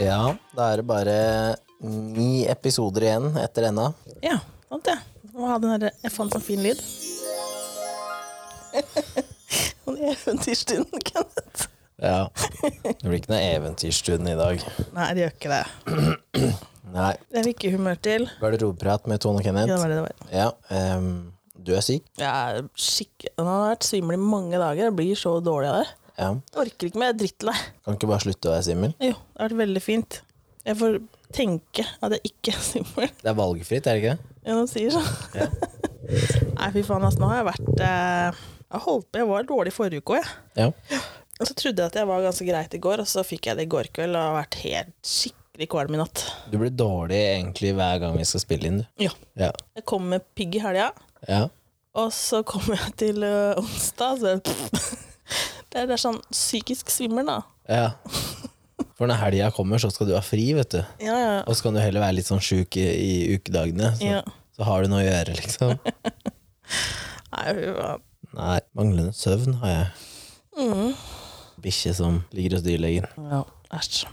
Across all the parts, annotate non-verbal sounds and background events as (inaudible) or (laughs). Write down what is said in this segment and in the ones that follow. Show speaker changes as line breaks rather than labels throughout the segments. Ja, da er det bare ni episoder igjen etter denne.
Ja, sant det. Må ha den der, jeg fant en fin lyd. Sånn eventyrstund, Kenneth.
Ja. Det blir ikke noe eventyrstund i dag.
Nei, det gjør ikke det.
Nei.
Det er vi ikke i humør til.
Garderobeprat med Tone og
Ja, det
Kenneth.
var det det var.
Ja, ehm, du er syk.
Jeg er skikk... Den har vært svimmel i mange dager. Jeg blir så dårlig av det.
Ja.
Jeg orker ikke mer. Jeg er drittlei.
Kan ikke bare slutte å være svimmel.
Jo, det har vært veldig fint. Jeg får tenke at jeg ikke er svimmel.
Det er valgfritt, er det ikke det?
Ja, de sier sånn.
Ja.
(laughs) Nei, fy faen, altså, nå har jeg vært eh, Jeg holdt på, jeg var dårlig forrige uke òg, jeg.
Ja.
Og så trodde jeg at jeg var ganske greit i går, og så fikk jeg det i går kveld og har vært helt skikkelig kvalm i natt.
Du blir dårlig egentlig hver gang vi skal spille inn, du.
Ja.
Ja.
Jeg kom med pigg i helga,
ja.
og så kom jeg til ø, onsdag, så (laughs) det er, det er sånn psykisk svimmel, da.
ja. For når helga kommer, så skal du ha fri, vet du.
Ja, ja.
Og så kan du heller være litt sånn sjuk i, i ukedagene. Så,
Ja.
så har du noe å gjøre, (laughs) liksom.
Nei, fy faen. Mm.
Nei, manglende søvn har jeg. Bikkje som ligger hos dyrlegen.
Ja, Æsj.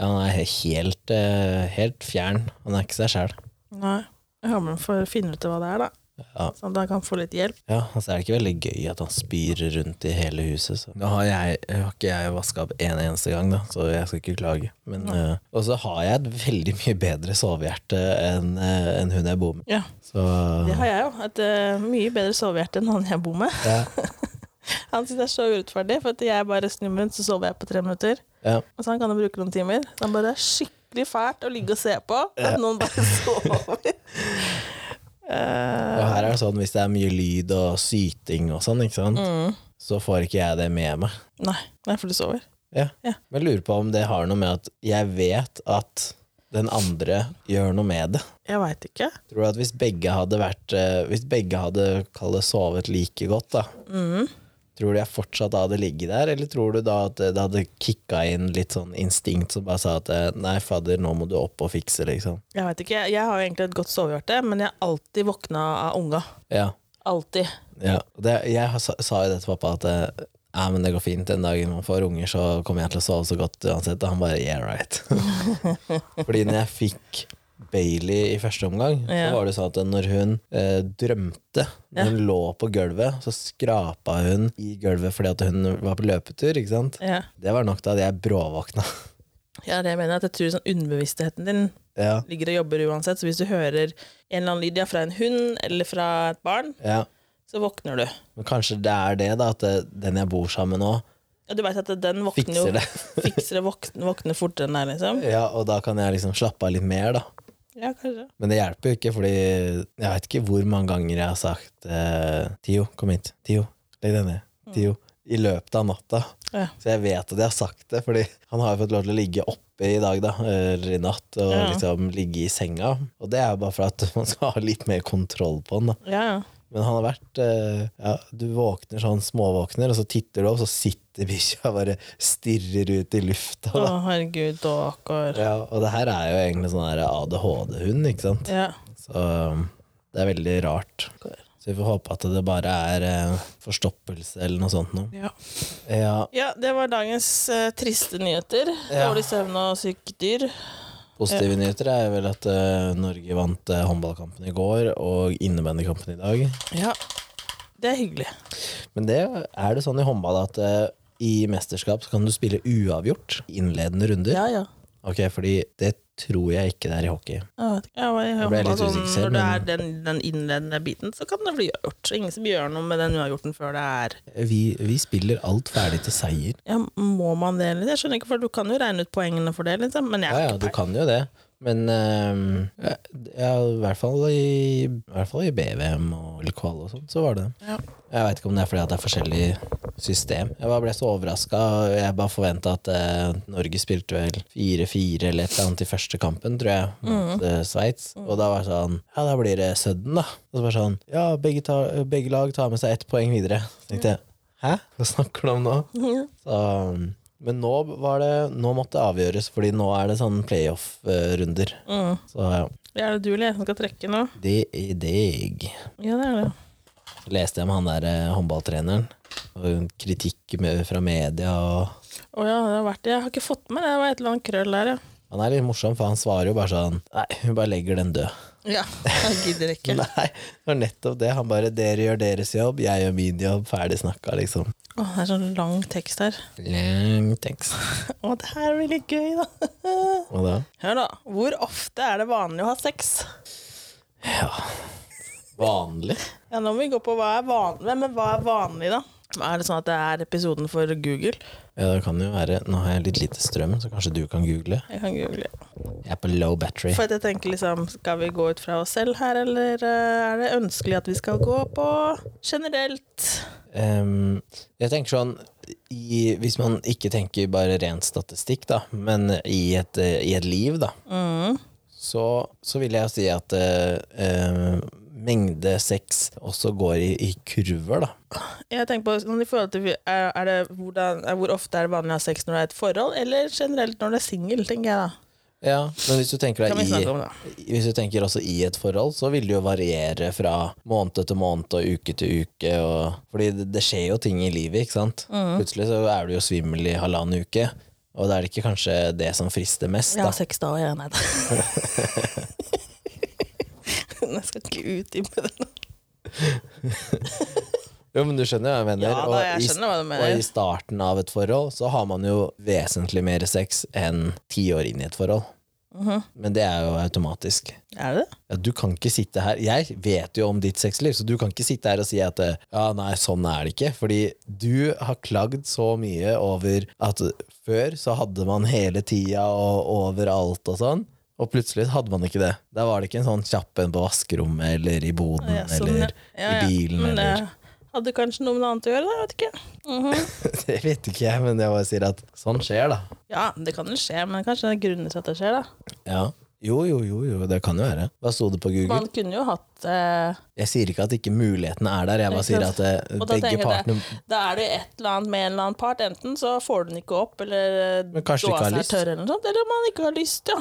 Ja, han er he- helt, eh, helt fjern. Han er ikke seg sjæl.
Nei. Jeg håper hun får finne ut av hva det er, da.
Ja.
Sånn at jeg kan få litt hjelp.
Ja, altså er det ikke veldig gøy at han spyr rundt i hele huset. Så. Nå har, jeg, eh, har ikke jeg vaska opp en eneste gang, da, så jeg skal ikke klage. Men, eh, og så har jeg et veldig mye bedre sovehjerte enn eh, enn hun jeg bor med.
Ja,
Så
det har jeg jo. Et ø, mye bedre sovehjerte enn han jeg bor med.
ja,
Han synes det er så urettferdig, for at jeg bare snur meg rundt, så sover jeg på tre minutter.
ja.
Og så han kan jo bruke noen timer. Så han bare er skikkelig fælt å ligge og se på. At noen (laughs) bare sover. Eh.
Og her er det sånn hvis det er mye lyd og syting og sånn, ikke
Mm.
sant? så får ikke jeg det med meg.
Nei, det er fordi du sover.
Ja.
Ja.
Men jeg lurer på om det har noe med at jeg vet at den andre gjør noe med det.
Jeg veit ikke.
Tror du at hvis begge hadde vært eh, Hvis begge hadde kall det, sovet like godt, da Tror du jeg fortsatt hadde ligget der, eller tror du da at det hadde kicka inn litt sånn instinkt som bare sa at eh, nei, fader, nå må du opp og fikse, liksom?
Jeg vet ikke. Jeg har jo egentlig et godt sovehjerte, men jeg har alltid våkna av unga.
Ja.
Alltid.
ja. Og Det, jeg har sa, sa jo det til pappa, at eh, ja, men det går fint, den dagen man får unger, så kommer jeg til å sove så godt uansett. Og han bare yeah, right. (laughs) Fordi når jeg fikk Bailey i første omgang,
Ja.
så var det sånn at når hun eh, drømte Når hun lå på gulvet, så skrapa hun i gulvet fordi at hun var på løpetur. ikke sant?
Ja.
Det var nok til at jeg bråvåkna. (laughs)
Ja, det jeg mener at jeg tror sånn underbevisstheten din
ja.
ligger og jobber uansett. Så hvis du hører en eller annen lyd ja, fra en hund eller fra et barn,
ja.
så våkner du.
Men kanskje det er det, da, at eh, den jeg bor sammen med nå,
Og du veit at den våkner
fikser det. (laughs)
jo Fikser det våkne, våkne fortere enn deg, liksom.
ja, Og da kan jeg liksom slappe av litt mer, da.
Ja, kanskje.
Men det hjelper jo ikke, fordi jeg vet ikke hvor mange ganger jeg har sagt eh, Tio, kom hit. Tio, legg deg ned. Tio. I løpet av natta.
Mm. Ja.
Så jeg vet at jeg har sagt det, fordi han har jo fått lov til å ligge oppe i dag, da, eller i natt, og
Ja.
liksom ligge i senga. Og det er jo bare for at man skal ha litt mer kontroll på han, da.
Ja, ja.
Men han har vært eh, ja, Du våkner sånn småvåkner, og så titter du opp, så sitter bikkja og bare stirrer ut i lufta.
Å,
Da.
herregud, daker.
Ja, og det her er jo egentlig sånn her ADHD-hund, ikke sant?
Ja.
Så um, det er veldig rart. Så vi får håpe at det bare er eh, forstoppelse eller noe sånt noe.
Ja.
Ja,
det var dagens eh, triste nyheter.
Ja.
Dårlig søvn og syke dyr.
positive nyheter er vel at eh, Norge vant eh, håndballkampen i går og innebandykampen i dag.
Ja. Det er hyggelig.
Men det er det sånn i håndball at eh, i mesterskap så kan du spille uavgjort i innledende runder.
Ja, ja.
Ok, fordi det tror jeg ikke det er i hockey.
Jeg vet ikke. Jeg var, jeg,
ble litt
håper sånn,
usikker,
når det er
men-
den, den innledende biten, så kan det bli gjort. Ingen som gjør noe med den uavgjorten før det er
Vi, vi spiller alt ferdig til seier.
ja, Må man det? eller? Jeg skjønner ikke, for du kan jo regne ut poengene for det, liksom. Men
Ja,
jeg har
ja,
ikke
du kan jo det. Men ehm, ja, ja, i, hvert fall i, i hvert fall i BVM og eller kval og sånn, så var det det.
Ja.
Jeg veit ikke om det er fordi at det er forskjellig system. Jeg bare ble så overraska. Jeg bare forventa at eh, Norge spilte vel 4-4 eller et eller annet i første kampen, tror jeg, mot eh, Sveits. Og da var det sånn Ja, da blir det Sudden, da. Og så bare sånn Ja, begge, ta, begge lag tar med seg ett poeng videre. Så tenkte jeg Hæ? Hva snakker du om nå? Så, um, men nå, var det, nå måtte det avgjøres, fordi nå er det sånn playoff-runder. Så ja,
Mm. Det er det du eller jeg som skal trekke nå?
det er deg.
Ja, det er det.
Leste jeg om han der eh, håndballtreneren. Og kritikk med, fra media og
Å ja, det har vært det. Jeg har ikke fått med det. Det var et eller annet krøll der, ja.
Han er litt morsom, for han svarer jo bare sånn Nei, hun bare legger den død. (laughs)
Ja, jeg gidder ikke.
Nei, det var nettopp det. Han bare 'Dere gjør deres jobb, jeg gjør min jobb'. Ferdig snakka, liksom.
Åh, det er sånn lang tekst her.
Lang tekst.
Å, det her er veldig gøy, da. (laughs)
Og da
Hør, da. Hvor ofte er det vanlig å ha sex?
Vanlig?
Ja, nå må vi gå på hva er vanlig. Men hva er vanlig, da? Er det sånn at det er episoden for Google?
Ja, det kan jo være Nå har jeg litt lite strøm, så kanskje du kan google.
Jeg kan google.
Jeg er på low battery.
For at jeg tenker liksom, skal vi gå ut fra oss selv her, eller eh, er det ønskelig at vi skal gå på generelt?
Ehm, jeg tenker sånn i, Hvis man ikke tenker bare ren statistikk, da, men i et, eh, i et liv, da,
Mm.
så, så vil jeg jo si at eh, eh, mengde sex også går i, i kurver, da.
Jeg tenker på, sånn i forhold til, er er det, hvordan, er, Hvor ofte er det vanlig å ha sex når det er et forhold, eller generelt når det er singel, tenker jeg da.
Ja, men hvis du tenker
Kan
deg
vi
i
snakke om det?
Hvis du tenker også i et forhold, så vil det jo variere fra måned til måned og uke til uke. Og, fordi det, det skjer jo ting i livet, ikke sant.
Mm.
Plutselig så er du jo svimmel i halvannen uke, og da er det ikke kanskje det som frister mest.
Jeg
Da.
har sex da, og jeg nei da. (laughs) jeg skal ikke utdype det.
Jo, men du skjønner hva jeg mener.
Ja da,
og
jeg
i-
skjønner hva du mener.
Og i starten av et forhold så har man jo vesentlig mer sex enn ti år inn i et forhold.
Mhm.
Men det er jo automatisk.
Er det det?
Ja, du kan ikke sitte her Jeg vet jo om ditt sexliv, så du kan ikke sitte her og si at eh, ja, nei, sånn er det ikke. Fordi du har klagd så mye over at før så hadde man hele tida og overalt og sånn. Og plutselig så hadde man ikke det. Da var det ikke en sånn kjapp en på vaskerommet eller i boden
Ja, sånn,
Mm, eller
ja, ja.
i bilen
Men det
eller
hadde kanskje noe med noe annet å gjøre, da. jeg vet ikke.
(laughs)
Mhm.
Det vet ikke jeg, men jeg bare sier at sånn skjer, da.
Ja, det kan jo skje, men kanskje det er grunner til at det skjer, da.
Ja. Jo, jo, jo, jo, det kan jo være. Hva sto det på Google?
Man kunne jo hatt eh,
Jeg sier ikke at ikke mulighetene er der, jeg bare
Ikke
sier
sant?
at eh,
Og da
begge
tenker jeg
partene
Da er det jo et eller annet med en eller annen part. Enten så får du den ikke opp, eller eh,
Men kanskje du ikke har
dåsen er
lyst?
tørr, eller noe sånt. Eller om man ikke har lyst, ja.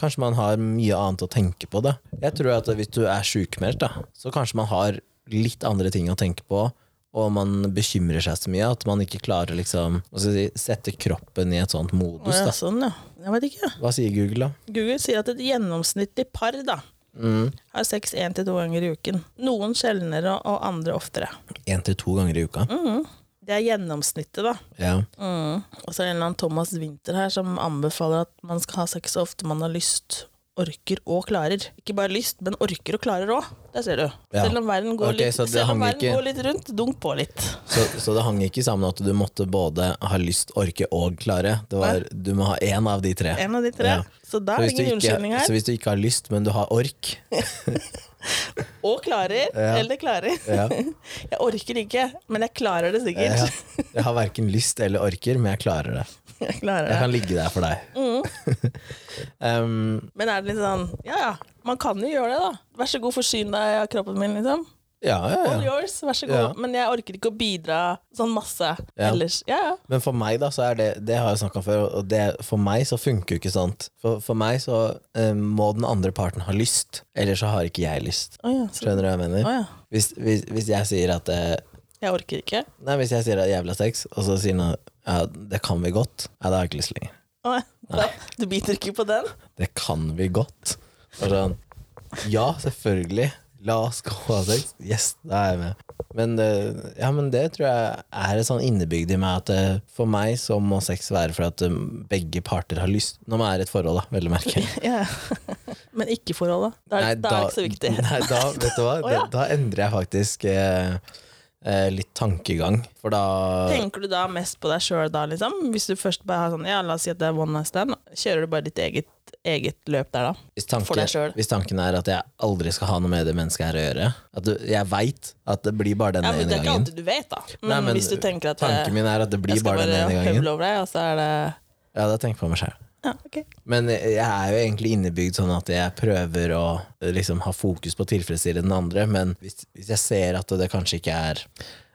Kanskje man har mye annet å tenke på da. Jeg tror at hvis du er sykmeldt, da, så kanskje man har litt andre ting å tenke på, og man bekymrer seg så mye at man ikke klarer liksom, hva skal jeg si, sette kroppen i et sånt modus.
ja
Da.
sånn, ja. Jeg vet ikke.
Hva sier Google, da?
Google sier at et gjennomsnittlig par da, har sex én til to ganger i uken. Noen sjeldnere og andre oftere.
Én til to ganger i uka?
Mm. Det er gjennomsnittet, da.
Ja.
Og så er det en eller annen Thomas Winther her som anbefaler at man skal ha sex så ofte man har lyst, orker og klarer. Ikke bare lyst, men orker og klarer òg. Der ser du.
Ja.
Selv om verden går,
Ok, så det
litt, selv om
hang
verden
ikke-
går litt rundt, dunk på litt.
Så, så det hang ikke sammen at du måtte både ha lyst, orke og klare. Det var, du må ha én av de tre.
En av de tre.
Ja.
Så
Så
der
hvis, du
ligger unnskyldning
ikke, så
her.
hvis du ikke har lyst, men du har
(laughs)
ork
Og klarer, eller klarer.
ja.
(laughs) Jeg orker ikke, men jeg klarer det sikkert.
Ja. Jeg har verken lyst eller orker, men jeg klarer det.
(laughs) Jeg klarer
Jeg
det.
kan ligge der for deg.
Mm.
(laughs) um,
Men er det litt sånn Ja ja, man kan jo gjøre det, da. Vær så god, forsyn deg av kroppen min, liksom.
ja, ja,
All
ja.
yours, vær så god.
Ja.
Men jeg orker ikke å bidra sånn masse
Ja.
ellers. Ja ja.
Men for meg, da, så er det Det har jeg snakka om før, og det, for meg så funker jo ikke sånt. For, for meg så eh, må den andre parten ha lyst, ellers så har ikke jeg lyst.
Å ja, så,
Skjønner du hva jeg mener?
å, ja.
Hvis, hvis, hvis jeg sier at eh,
Jeg orker ikke.
Nei, hvis jeg sier at jævla sex, og så sier han ja, det kan vi godt, ja, da har jeg ikke lyst lenger.
Å, ja. Du biter ikke på
(laughs)
den?
Det kan vi godt. Og sånn, ja, selvfølgelig. La oss gå og ha sex. Yes, da er jeg med. Men, eh, ja, men det tror jeg er et sånn innebygd i meg at eh, for meg så må sex være for at eh, begge parter har lyst. Når man er i et forhold, da, vel å merke.
Ja. Men ikke forholdet. (laughs) Da er,
Nei,
da, er det ikke så viktig.
(laughs) Nei, da, vet du hva?
Å, ja.
da, da endrer jeg faktisk eh, eh, litt tankegang. For da
Tenker du da mest på deg sjøl da, liksom? Hvis du først bare har sånn Ja, la oss si at det er one night stand. Kjører du bare ditt eget, eget løp der, da?
hvis
For deg selv.
tanken, hvis tanken er at jeg aldri skal ha noe med det mennesket her å gjøre At du, jeg veit at det blir bare denne
Ja, men
ene
Det er ikke
gangen.
alltid du vet, da. Men,
Nei, men
hvis du tenker at eh,
Tanken min er at det
jeg
blir
skal
bare den
bare
ene gangen.
høvle over deg, og så er det
Ja, det tenker jeg på meg selv.
Ja, ok.
Men jeg er jo egentlig innebygd sånn at jeg prøver å liksom ha fokus på å tilfredsstille den andre, men hvis, hvis jeg ser at det kanskje ikke er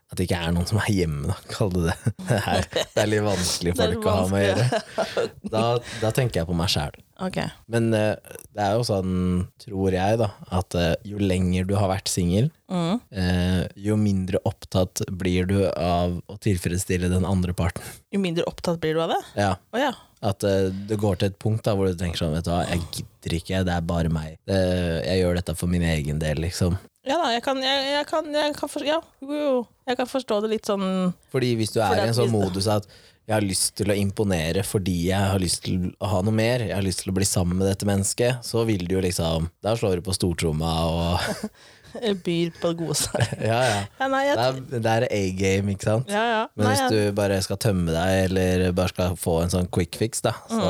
at det ikke er noen som er hjemme, da, (laughs) kall det det. Det er, det er litt vanskelig
(laughs) Det er
folk å ha med å
vanskelig.
gjøre. Da, da tenker jeg på meg sjæl.
Ok.
Men eh, det er jo sånn, tror jeg, da, at eh, jo lenger du har vært singel,
Mm.
eh, jo mindre opptatt blir du av å tilfredsstille den andre parten.
Jo mindre opptatt blir du av det.
(laughs) Ja,
Å ja.
At eh, det går til et punkt da, hvor du tenker sånn, vet du hva, jeg gidder ikke, det er bare meg. Eh, jeg gjør dette for min egen del, liksom.
Ja da, jeg kan, jeg, jeg kan, jeg kan, for, ja, jo, jo, jeg kan forstå det litt sånn
Fordi hvis du
For
er
det
i en
at
sånn
hvis-
modus at jeg har lyst til å imponere fordi jeg har lyst til å ha noe mer, jeg har lyst til å bli sammen med dette mennesket, så vil du jo liksom Da slår du på stortromma og (laughs)
eh, byr på det gode seg.
Ja, ja.
Ja, nei,
Det (laughs)
jeg,
er, det er A-game, ikke sant?
ja, ja.
Men
Nei,
hvis
jeg,
du bare skal tømme deg, eller bare skal få en sånn quick fix, da, så,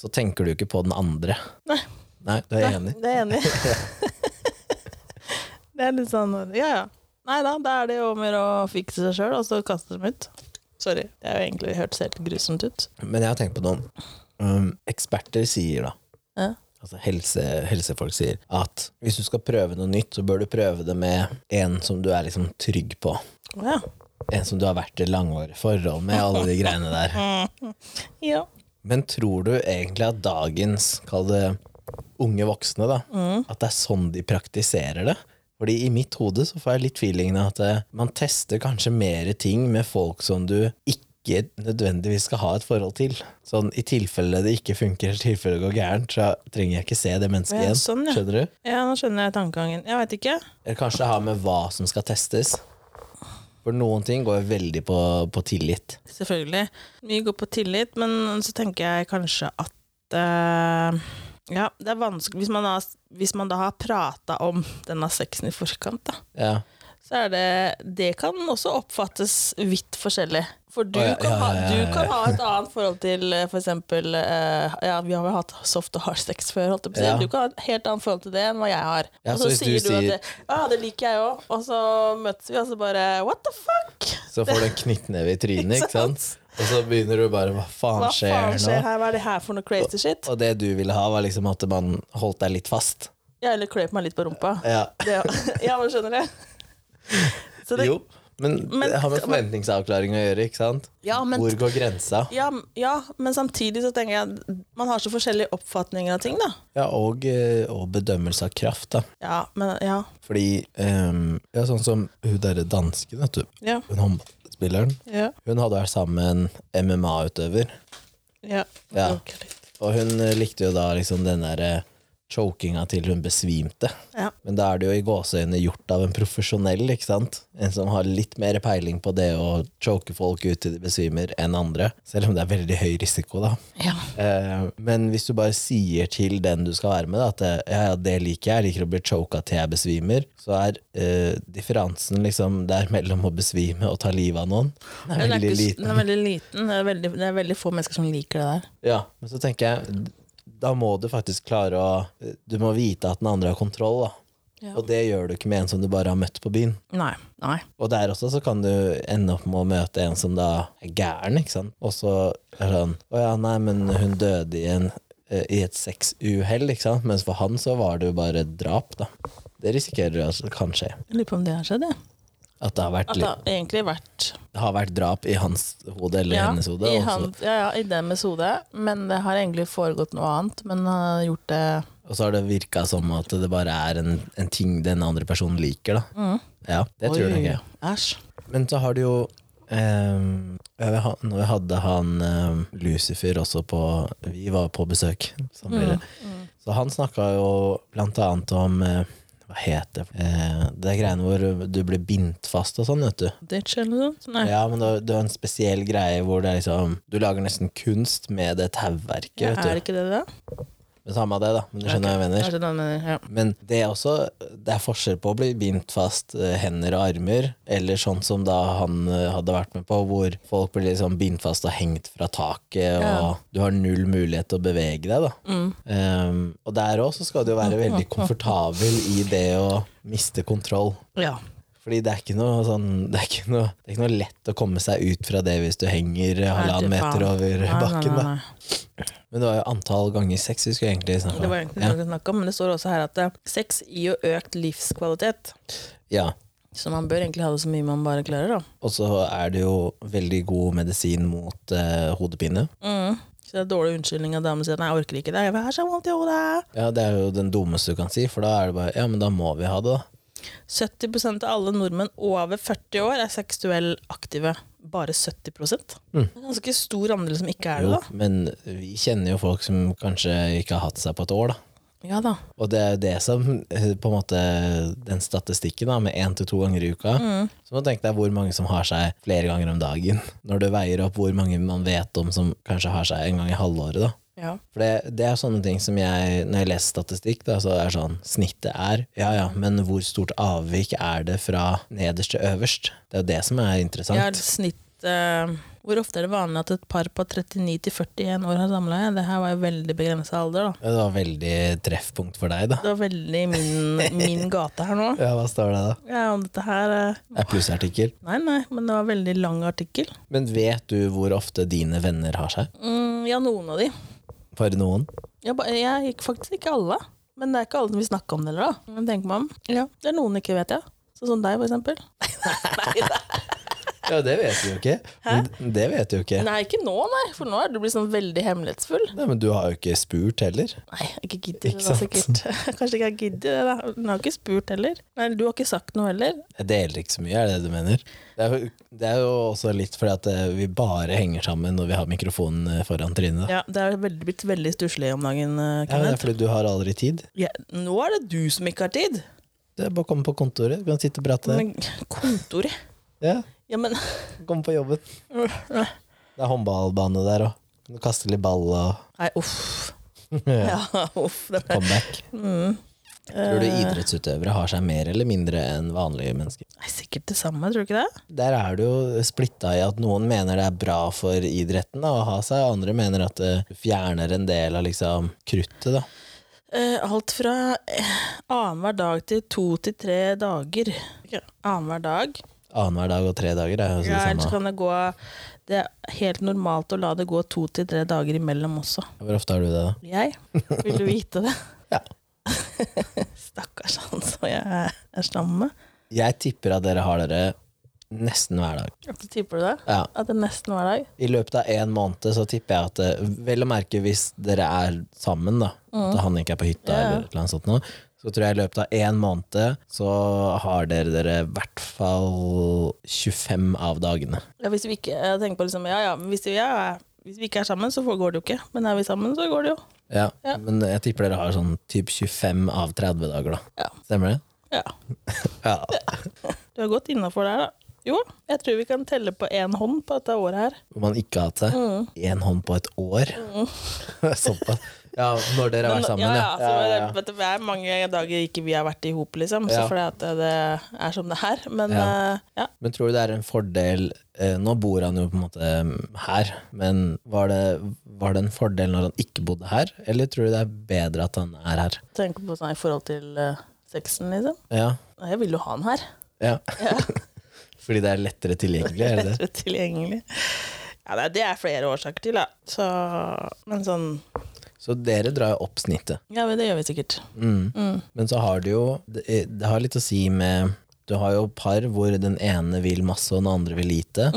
så tenker du ikke på den andre.
Mm. Nei.
Nei, du er
nei,
enig?
det er jeg enig (laughs) i. det er litt sånn Ja, ja. Nei da, da er det jo mer å fikse seg sjøl, og så kaste dem ut. Sorry. Det har jo egentlig hørtes helt grusomt ut.
Men jeg har tenkt på noen um, eksperter sier da,
Ja.
altså helse, helsefolk sier, at hvis du skal prøve noe nytt, så bør du prøve det med en som du er liksom trygg på.
Å ja.
En som du har vært i langårige forhold med, alle de greiene der.
Mm. ja.
Men tror du egentlig at dagens, kall det unge voksne, da,
Mm.
at det er sånn de praktiserer det? Fordi i mitt hode så får jeg litt feelingen at eh, man tester kanskje mer ting med folk som du ikke nødvendigvis skal ha et forhold til. Sånn i tilfelle det ikke funker, eller tilfelle det går gærent, så trenger jeg ikke se det mennesket
Ja,
igjen.
sånn, ja.
Skjønner du?
Ja, nå skjønner jeg tankegangen. Jeg veit ikke.
Eller kanskje det har med hva som skal testes. For noen ting går jo veldig på, på tillit.
Selvfølgelig. Mye går på tillit, men så tenker jeg kanskje at eh, Ja, det er vanskelig Hvis man, har, hvis man da har prata om denne sexen i forkant, da,
Ja.
så er det Det kan også oppfattes vidt forskjellig. For du,
Å, ja,
kan,
ja,
ha,
ja, ja,
du
ja.
kan ha et annet forhold til eh, for eksempel eh, Ja, vi har vel hatt soft og hard sex før, holdt jeg på å si.
Ja.
Du kan ha et helt annet forhold til det enn hva jeg har.
Ja,
og
så
så,
hvis
sier
du
du, at
sier-
det, Ja, det liker jeg òg. Og så møtes vi, og så bare What the fuck?
Så får du en knyttneve i
(laughs)
trynet, ikke sant? Og så begynner du bare Hva faen
Hva
skjer
faen skjer
nå?
her? Hva er det her for noe crazy shit?
Og det du ville ha, var liksom at man holdt deg litt fast.
Ja, eller kløyp meg litt på rumpa. (laughs)
Ja.
Det, (laughs) ja, men skjønner jeg. Så det,
Jo, men,
Men-
det har med forventningsavklaring å gjøre, ikke sant?
Ja, men-
Hvor går grensa?
ja, ja, men samtidig så tenker jeg at man har så forskjellige oppfatninger av ting, da.
Ja, og, eh, og bedømmelse av kraft, da.
Ja, men ja.
Fordi ehm, ja, sånn som hun derre dansken, vet du.
Ja,
Hun håndballspilleren.
ja,
Hun hadde vært sammen med en MMA-utøver,
ja.
Ja.
Ok, litt.
og hun eh, likte jo da liksom den derre chokinga til hun besvimte.
Ja.
Men da er det jo i gåseøynene gjort av en profesjonell, ikke sant? En som har litt mer peiling på det å choke folk ut til de besvimer enn andre. Selv om det er veldig høy risiko, da.
ja.
Eh, men hvis du bare sier til den du skal være med, da, at eh, ja, ja, det liker jeg, jeg liker å bli choka til jeg besvimer, så er eh, differansen liksom der mellom å besvime og ta livet av noen, den er
Den, er
veldig
ikke, s-
liten.
den er veldig liten. Det er veldig, det er veldig få mennesker som liker det der.
Ja, men så tenker jeg da må du faktisk klare å eh, Du må vite at den andre har kontroll, da.
Ja.
Og det gjør du ikke med en som du bare har møtt på byen.
Nei. Nei.
Og der også så kan du ende opp med å møte en som da er gæren, ikke sant? Og så er sånn Å ja, nei, men hun døde i, en, eh, i et sexuhell, ikke sant? Mens for han så var det jo bare drap, da. Det risikerer du altså kan skje.
Jeg lurer på om det har skjedd, jeg.
At det har vært,
At det har egentlig vært
li- har vært drap i hans hode eller
ja,
hennes hode.
i,
og så-
han, ja, ja, i deres hode, men det har egentlig foregått noe annet. Men har gjort det
Og så har det virka som at det bare er en, en ting den andre personen liker, da.
Mm.
Ja, det tror jeg
Oi,
nok jeg.
Æsj.
Men så har du jo ehm, jeg vil ha- Når jeg hadde han ehm, Lucifer også på Vi var på besøk
Mm.
sammen. med dere. Så han snakka jo blant annet om eh, Hva heter det? Eh, det er greiene hvor du blir bindt fast og sånn, vet du.
Ditch eller noe sånt? Nei.
Ja, men det det var en spesiell greie hvor det er liksom Du lager nesten kunst med det tauverket,
Ja, er det
vet du.
ikke det det? er?
Men Samme av det, da. Men du skjønner hva jeg mener.
Kanskje den mener, ja.
Men det er også Det er forskjell på å bli bindt fast eh, hender og armer, eller sånn som da han eh, hadde vært med på, hvor folk blir liksom bindt fast og hengt fra taket, og
Ja.
du har null mulighet til å bevege deg. da
Mm.
um, Og der òg skal du jo være veldig
(laughs)
komfortabel i det å miste kontroll.
ja.
Fordi det er, ikke noe sånn, det, er ikke noe, det er ikke noe lett å komme seg ut fra det hvis du henger eh, halvannen
Nei, fy
meter
faen.
over
Nei, nei,
bakken. da
nei, nei.
Men det var jo antall ganger sex vi skulle egentlig snakke om.
Det var egentlig noe sånn- å snakke om, men det står også her at eh, sex gir jo økt livskvalitet.
ja. ja.
Så man bør egentlig ha det så mye man bare klarer, da.
Og så er det jo veldig god medisin mot eh, hodepine.
Så det er dårlig unnskyldning av damen sier nei, jeg orker ikke det. Jeg bare, har så vondt i hodet.
Ja, Det er jo den dummeste du kan si, for da er det bare Ja, men da må vi ha det, da.
70 av alle nordmenn over 40 år er seksuelt aktive. Bare 70 Det
Mm.
er en ganske stor andel som ikke er
Jo,
det, da.
men vi kjenner jo folk som kanskje ikke har hatt seg på et år, da.
Ja da.
Og det er jo det som eh, på en måte Den statistikken da med én til to ganger i uka.
Mm.
Så må du tenke deg hvor mange som har seg flere ganger om dagen. Når du veier opp hvor mange man vet om som kanskje har seg en gang i halvåret. da
Ja.
For det, det er sånne ting som jeg Når jeg leser statistikk, da, så er sånn Snittet er Ja ja, men hvor stort avvik er det fra nederst til øverst? Det er jo det som er
Jeg har
interessant.
et snitt eh, Hvor ofte er det vanlig at et par på 39 til 41 år har samleie? Det her var jo veldig begrensa alder, da.
Det var veldig treffpunkt for deg, da.
Det var veldig min, min gate her nå.
Ja, hva står det, da?
Ja, og dette her eh,
Det er plussartikkel.
Nei, nei, men det var en veldig lang artikkel.
Men vet du hvor ofte dine venner har seg?
Mm, ja, noen av de.
For noen?
Jeg, ba- jeg gikk faktisk ikke alle. Men det er ikke alle som vil snakke om det heller, da. Men tenker man, ja, det er noen ikke vet, ja. Sånn som deg, for eksempel.
Ja, det vet du jo ikke. Men Det vet du jo ikke.
Nei, ikke nå, nei. For nå er du blitt sånn veldig hemmelighetsfull.
Nei, men du har jo ikke spurt heller.
Nei, jeg ikke gidder
Ikke
det, da,
sant?
sikkert. Kanskje ikke (laughs) jeg gidder det, da. Hun har ikke spurt heller. Nei, du har ikke sagt noe heller.
Jeg deler ikke så mye, er det det du mener? Det er, jo- det er jo også litt fordi at eh, vi bare henger sammen når vi har mikrofonen eh, foran trynet. da.
Ja, det er veldig, blitt veldig stusslig om dagen, eh,
Ja, men det er
Kenneth.
fordi du har aldri tid.
Ja, nå er det du som ikke har tid.
Det er bare å komme på kontoret, du kan sitte og prate.
Men kontoret
Ja,
Ja, men
Komme på jobben. Det er håndballbane der òg. Kan du kaste litt ball og
Nei, uff.
(laughs) ja,
Ja, uff. Det (laughs)
comeback.
Mm.
Tror du
Eh.
idrettsutøvere har seg mer eller mindre enn vanlige mennesker?
er sikkert det samme, tror du ikke det?
Der er det jo splitta i at noen mener det er bra for idretten da, å ha seg, og andre mener at det fjerner en del av liksom kruttet. da.
Eh, alt fra eh, annenhver dag til to til tre dager. Okay. Annenhver dag.
Annenhver dag og tre dager er jo også
Ja,
det
ellers
samme.
kan det gå Det er helt normalt å la det gå to til tre dager imellom også.
Hvor ofte har du det, da?
Jeg? Vil du vite det?
Ja.
(laughs) Stakkars han som jeg er sammen med.
Jeg tipper at dere har dere nesten hver dag.
At du tipper det?
Ja.
At det er nesten hver dag?
I løpet av én måned så tipper jeg at eh, Vel å merke hvis dere er sammen, da. At han ikke er på hytta
Mm. Ja, ja.
eller et eller annet sånt noe. Så tror jeg i løpet av én måned så har dere dere i hvert fall 25 av dagene.
Ja, hvis vi ikke jeg tenker på liksom, ja, ja, men hvis vi, ja, ja, hvis vi ikke er sammen, så får- går det jo ikke. Men er vi sammen, så går det jo.
Ja,
Ja.
men jeg tipper dere har sånn typ 25 av 30 dager, da.
Ja.
Stemmer det?
Ja.
Ja.
Du er godt innafor der, da. Jo, jeg tror vi kan telle på én hånd på dette året her.
Hvor man ikke har hatt seg
Mm.
én hånd på et år. (laughs) Såpass. Ja, når dere har vært sammen,
ja.
ja.
ja, så det- vet du, Det er mange dager ikke vi har vært i hop, liksom. Så
Ja.
fordi at det er som det er. Men
Ja.
eh, ja.
Men tror du det er en fordel eh, Nå bor han jo på en måte eh, her, men var det, var det en fordel når han ikke bodde her? Eller tror du det er bedre at han er her?
tenker på sånn i forhold til eh, sexen, liksom.
Ja.
Nei, Jeg vil jo ha den her.
ja. (laughs) Fordi det er lettere tilgjengelig, er (laughs) det det?
Lettere tilgjengelig. Ja, det er, det er flere årsaker til, da. Så, men sånn
Så dere drar jo opp snittet.
Ja, men det gjør vi sikkert.
Mm. Men så har du jo det, eh, det har litt å si med Du har jo par hvor den ene vil masse, og den andre vil lite.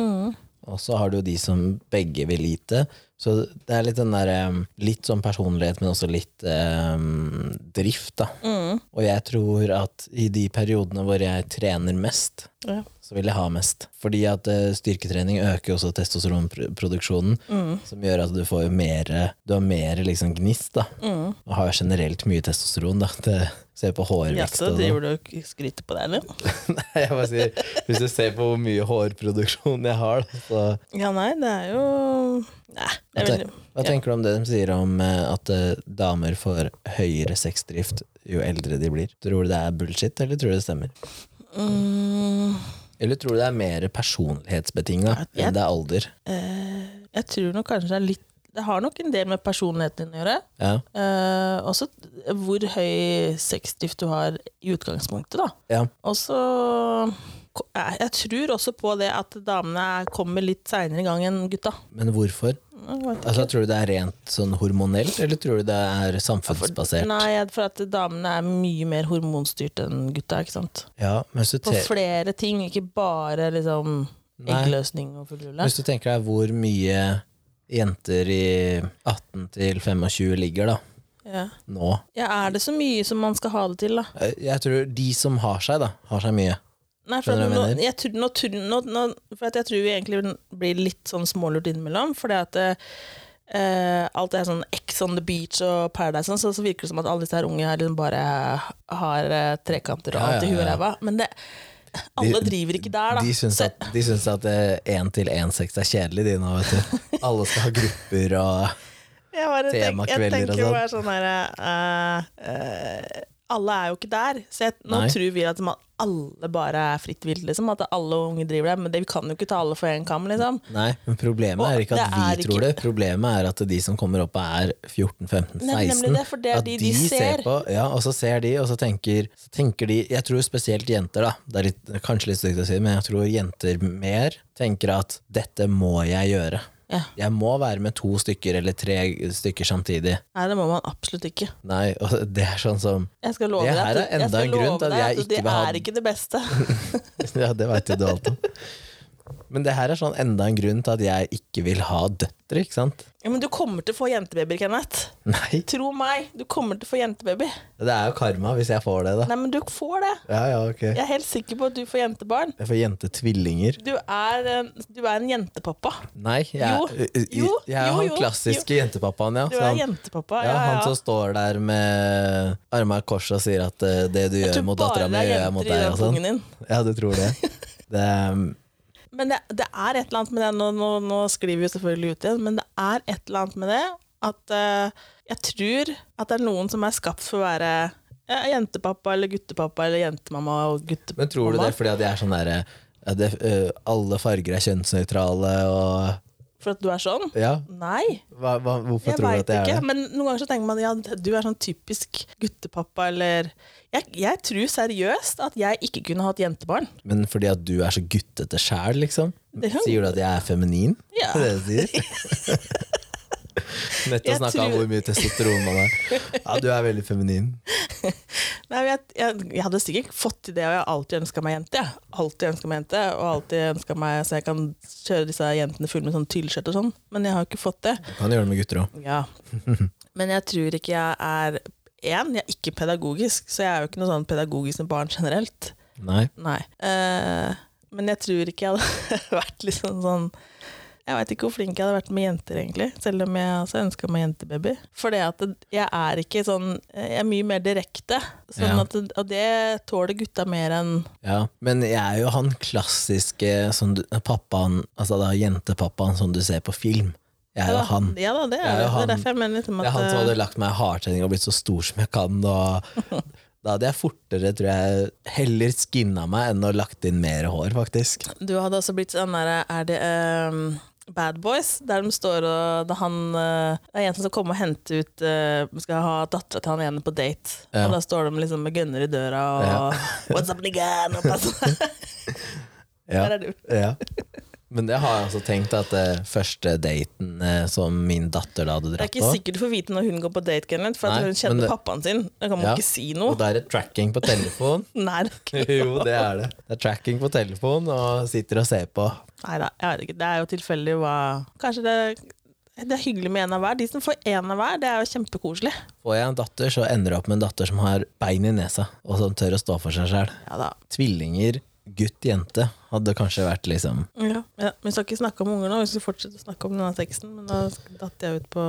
Og så har du jo de som begge vil lite. Så det er litt den der em, Litt sånn personlighet, men også litt em, drift, da.
Mm.
Og jeg tror at i de periodene hvor jeg trener mest,
Ja.
så vil jeg ha mest. Fordi at eh, styrketrening øker jo også testosteronproduksjonen,
Mm.
som gjør at du får jo mer Du har mer liksom gnist, da.
Mm.
Og har generelt mye testosteron, da. Det, se på
Ja,
hårvekst
så
og sånn.
driver du og skryter på deg, eller?
Nei, (laughs) jeg bare sier, hvis du ser på hvor mye hårproduksjon jeg har, da, så
Ja, nei, det er jo Nei.
Hva,
Det er
ten,
veldig,
hva tenker du om det de sier om eh, at eh, damer får høyere sexdrift jo eldre de blir? Tror du det er bullshit, eller tror du det stemmer?
mm,
Eller tror du det er mer personlighetsbetinga
Jeg-
enn det er alder?
eh, jeg tror nok kanskje det er litt Det har nok en del med personligheten din å gjøre.
Ja,
Eh, også hvor høy sexdrift du har i utgangspunktet, da.
ja.
Og så jeg jeg tror også på det at damene er- kommer litt seinere i gang enn gutta.
Men hvorfor? Altså, tror du det er rent sånn hormonelt, eller tror du det er samfunnsbasert?
Nei, jeg- for at damene er mye mer hormonstyrt enn gutta, ikke sant.
Ja, men hvis du,
På
te
flere ting, ikke bare liksom
Nei.
eggløsning og fullrulle.
hvis du tenker deg hvor mye jenter i 18 til 25 ligger, da.
Ja.
Nå.
ja, er det så mye som man skal ha det til, da?
Jeg- Jeg tror de som har seg, da, har seg mye.
Nei, for
Skjønner du hva
nå,
jeg mener?
jeg tror, nå, tror- nå, nå, for at jeg tror vi egentlig blir litt sånn smålurt innimellom. Fordi at eh, alt det her sånn Ex on the beach og Paradise, og sånn, så, så virker det som at alle disse her unge her liksom bare har eh, trekanter og
Ja,
alt i
ja,
huet og
ja.
ræva. Men det, alle driver ikke der, da.
De syns
Så-
at, de syns at eh, én til én sex er kjedelig, de nå, vet du.
(laughs)
Alle skal ha grupper og
Jeg, bare tenk, jeg
Temakvelder
tenker
og
bare sånn her eh, eh, Alle er jo ikke der. Så jeg, nå
Nei.
tror vi at man, alle bare er fritt vilt, liksom. At alle unge driver der. Men det, vi kan jo ikke ta alle for én kam, liksom.
Nei, men problemet
Og
er ikke at
det
vi
er ikke-
tror det. Problemet er at de som kommer opp er 14, 15, 16.
Nei, nemlig det, for det er
at
de de ser.
på, ja, og så ser de, og så tenker, så tenker de Jeg tror spesielt jenter, da. Det er litt, kanskje litt stygt å si, men jeg tror jenter mer tenker at dette må jeg gjøre.
Ja.
Jeg må være med to stykker eller tre stykker samtidig.
Nei, det må man absolutt ikke.
Nei, og (laughs) det er sånn som
Jeg skal love
Det
deg
her
at-
er enda
jeg skal
en grunn
love
til at
deg
jeg ikke
det
vil ha
er
den.
ikke det
(laughs)
beste.
Ja, det veit jo du alt om. Men det her er sånn enda en grunn til at jeg ikke vil ha døtre, ikke sant?
Ja, men du kommer til å få jentebabyer, Kenneth.
Nei.
Tro meg, du kommer til å få jentebaby.
Det er jo karma hvis jeg får det, da.
Nei, men du får det.
Ja, ja, ok.
Jeg er helt sikker på at du får jentebarn.
Jeg får jentetvillinger.
Du er en, du er en jentepappa.
Nei, jeg,
Jo, jo,
jeg er
jo,
han
jo,
klassiske jentepappaen, ja.
Du
Så
er
han,
jentepappa,
ja.
ja,
Han
ja.
som står der med arma i kors og sier at eh, det du gjør
tror
mot
bare
dattera mi,
det er
gjør jeg mot
jenter i
deg.
den
Og sånn.
pungen din.
Ja, du tror det.
(laughs)
det um,
Men det, det er et eller annet med det, nå, nå, nå skriver vi jo selvfølgelig ut igjen, men det er et eller annet med det at eh, jeg tror at det er noen som er skapt for å være eh, jentepappa eller guttepappa eller jentemamma og guttepappa.
men tror du det fordi at jeg er sånn derre ja, det, eh, alle farger er kjønnsnøytrale og
For at du er sånn?
Ja,
Nei,
hva, hva, hvorfor
jeg
tror du
veit
at jeg
ikke.
er det?
Men noen ganger så tenker man ja, du er sånn typisk guttepappa eller Jeg, jeg tror seriøst at jeg ikke kunne hatt jentebarn.
Men fordi at du er så guttete sjæl, liksom?
Det-
Sier du at jeg er feminin?
Ja.
Det er det du sier?
(laughs)
Nettopp
Jeg
snakka om
tror-
hvor mye testosteron man har. Ja, du er veldig feminin.
Nei, men jeg, jeg, jeg hadde sikkert fått til det, og jeg har alltid ønska meg jente. jeg. Alltid ønsket meg jente, og alltid ønsket meg så jeg kan kjøre disse jentene fulle med sånn tyllskjørt og sånn. Men jeg har jo ikke fått det.
Du kan gjøre det med gutter òg.
(laughs) Ja. Men jeg tror ikke jeg er én, jeg er ikke pedagogisk, så jeg er jo ikke noe sånn pedagogisk med barn generelt.
Nei.
Nei. Eh, men jeg tror ikke jeg hadde (laughs) vært liksom sånn Jeg veit ikke hvor flink jeg hadde vært med jenter, egentlig. Selv om jeg også ønska meg jentebaby. For det at jeg er ikke sånn Jeg er mye mer direkte. Sånn
Ja.
at, og det tåler gutta mer enn
Ja. Men jeg er jo han klassiske som du, pappaen, altså da jentepappaen som du ser på film. Jeg er jo han.
Ja da, det
er
er,
jo
det. det
han.
er derfor jeg mener liksom at
Det er han som hadde lagt meg i hardtrening og blitt så stor som jeg kan.
(laughs)
Og da hadde jeg fortere, tror jeg, heller skinna meg enn å lagt inn mer hår, faktisk.
Du hadde også blitt sånn derre Er det ehm, Bad Boys? Der de står og da han, eh, Det er en som kommer og henter ut eh, Skal ha dattera til han ene på date.
Ja.
Og da står de liksom med gunner i døra og
Ja.
(laughs) What's up, nigga? Og pass- Der
Ja.
er du.
ja. (laughs) Men det har jeg altså tenkt at eh, første daten eh, som min datter da hadde
Det er
dratt
ikke
på
sikkert du får vite når hun går på date, Kenneth, for
Nei,
at hun kjenner
men det-
pappaen sin. Da kan man
Ja.
ikke si
Og
noe.
da er det tracking på
(laughs)
telefon.
Nei, det er
(laughs)
ikke-
jo, det er det. Det er tracking på telefon og sitter og ser på.
Nei da, jeg vet ikke. Det er jo tilfeldig hva Kanskje det, det er hyggelig med én av hver. De som får én av hver, det er jo kjempekoselig.
Får jeg en datter, så ender jeg opp med en datter som har bein i nesa, og som tør å stå for seg sjøl.
Ja da.
Tvillinger, gutt, jente, hadde kanskje vært liksom
Ja, ja. Vi skal ikke snakke om unger nå, vi skal fortsette å snakke om denne teksten, men da datt jeg ut på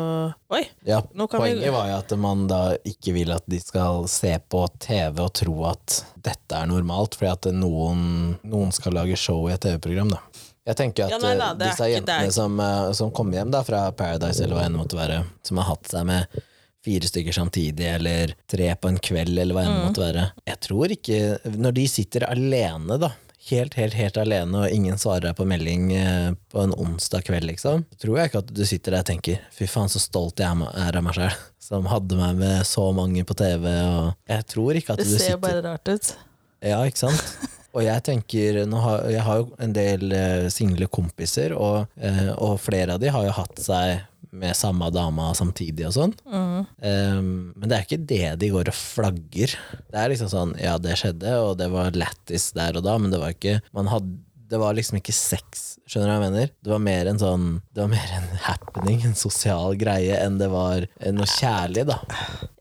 Oi!
ja,
Nå kan vi-
Poenget var jo at man da ikke vil at de skal se på TV og tro at dette er normalt, fordi at noen, noen skal lage show i et TV-program, da. Jeg tenker at
Ja, nei da,
eh,
det er
disse
ikke- det er
jentene
ikke-
som, eh, som kommer hjem da fra Paradise, eller hva enn det måtte være, som har hatt seg med fire stykker samtidig, eller tre på en kveld, eller hva enn
Mm.
det måtte være Jeg tror ikke Når de sitter alene, da, helt, helt, helt alene, og ingen svarer deg på melding eh, på en onsdag kveld, liksom, så tror jeg ikke at du sitter der og tenker 'fy faen, så stolt jeg er ma- er av meg sjæl', (laughs) som hadde meg med så mange på TV, og Jeg tror ikke at
Det
du
ser
sitter
jo bare rart ut.
ja, ikke (laughs) sant? Og jeg tenker, nå har, jeg har jo en del eh, single kompiser, og, eh, og flere av de har jo hatt seg med samme dama samtidig og sånn.
Mm.
Eh, men det er ikke det de går og flagger. Det er liksom sånn, ja det skjedde, og det var lættis der og da, men det var ikke, man hadde Det var liksom ikke sex, skjønner du hva jeg mener? Det var mer en sånn Det var mer en happening, en sosial greie, enn det var eh, noe kjærlig, da.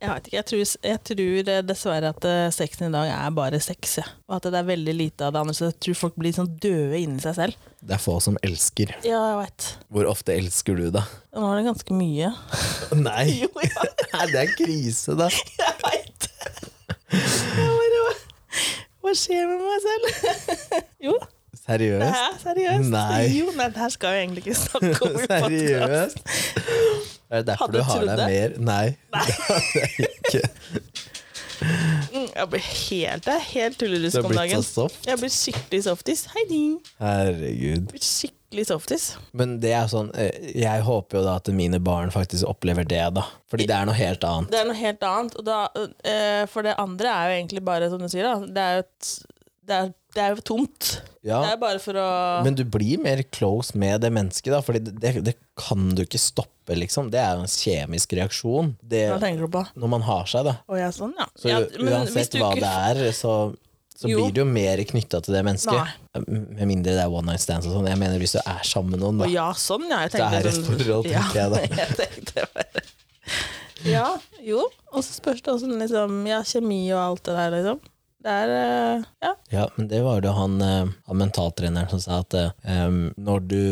Jeg vet ikke, jeg tror, jeg tror eh, dessverre at eh, sexen i dag er bare sex, ja. og at det er veldig lite av det andre. Så jeg tror folk blir sånn døde inni seg selv.
Det er få som elsker.
Ja, jeg veit.
Hvor ofte elsker du, da?
Nå er det ganske (laughs) mye.
Nei!
Jo, ja,
Nei, det er krise, da.
jeg veit det. Hva skjer med meg selv? Jo, det
Seriøst?
er seriøst.
Nei.
Jo, nei, det her skal vi egentlig ikke snakke (laughs) om. i podcast.
Seriøst? Er det derfor
Hadde
du har
trodd
deg
det.
mer Nei. (laughs) Det har jeg
(laughs)
ikke.
Mm, Jeg blir helt, jeg er helt tullerusk
Du har
om
blitt så
dagen.
soft.
Jeg blir skikkelig softis. Hei, din.
Herregud.
Blir skikkelig softis.
Men det er sånn, eh, jeg håper jo da at mine barn faktisk opplever det, da. Fordi det er noe helt annet.
Det er noe helt annet. Og da, eh, for det andre er jo egentlig bare, som du sier, da, det er jo, et, det er, det er jo tomt.
Ja,
Det er bare for å
men du blir mer close med det mennesket, da. Fordi det, det, det kan du ikke stoppe, liksom. Det er jo en kjemisk reaksjon. Det,
Hva tenker du på?
når man har seg, da.
Å ja, sånn, ja.
Så
ja
uansett hva det er, så, så
Jo.
blir du jo mer knytta til det mennesket. Med mindre det er one night stands og sånn. Jeg mener hvis du er sammen med noen,
Å
da.
ja, sånn, ja. Jeg
Det er
tenkte
et
sånn-
forhold,
ja,
tenker jeg da.
(laughs) jeg tenkte bare Ja, jo. Og så spørs det åssen liksom Ja, kjemi og alt det der, liksom. Det er eh, Ja.
Ja, men det var det jo han, eh, han mentaltreneren som sa at eh, når, du,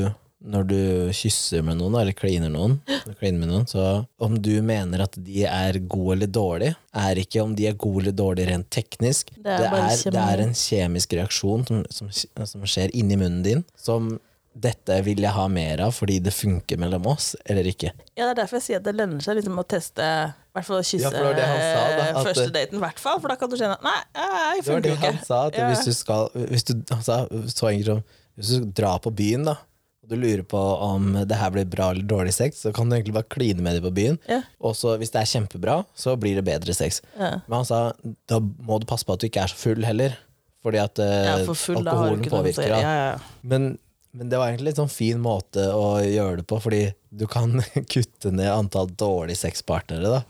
når du kysser med noen, eller kliner, noen, eller kliner med noen, så om du mener at de er gode eller dårlige, er ikke om de er gode eller dårlige rent teknisk.
Det er bare kjemi.
det er en kjemisk reaksjon som, som, som skjer inni munnen din, som dette vil jeg ha mer av fordi det funker mellom oss, eller ikke.
Ja, Det er derfor jeg sier at det lønner seg liksom å teste i hvert fall å kysse
Ja, for det var det han sa, da,
eh,
at-
første daten, i hvert fall. For da kan du kjenne at nei, jeg
Det var
funker
det
jo ikke.
han sa, at
Ja.
hvis du skal hvis du, Han sa så enkelt som Hvis du drar på byen, da, og du lurer på om det her blir bra eller dårlig sex, så kan du egentlig bare kline med dem på byen.
Ja.
Og så hvis det er kjempebra, så blir det bedre sex.
Ja.
Men han sa da må du passe på at du ikke er så full heller. Fordi at eh,
Ja, for full, da har du
alkoholen
ikke noe å si.
påvirker
Ja,
deg.
ja, ja.
Men, men det var egentlig en sånn fin måte å gjøre det på, fordi du kan (laughs) kutte ned antall dårlige sexpartnere da,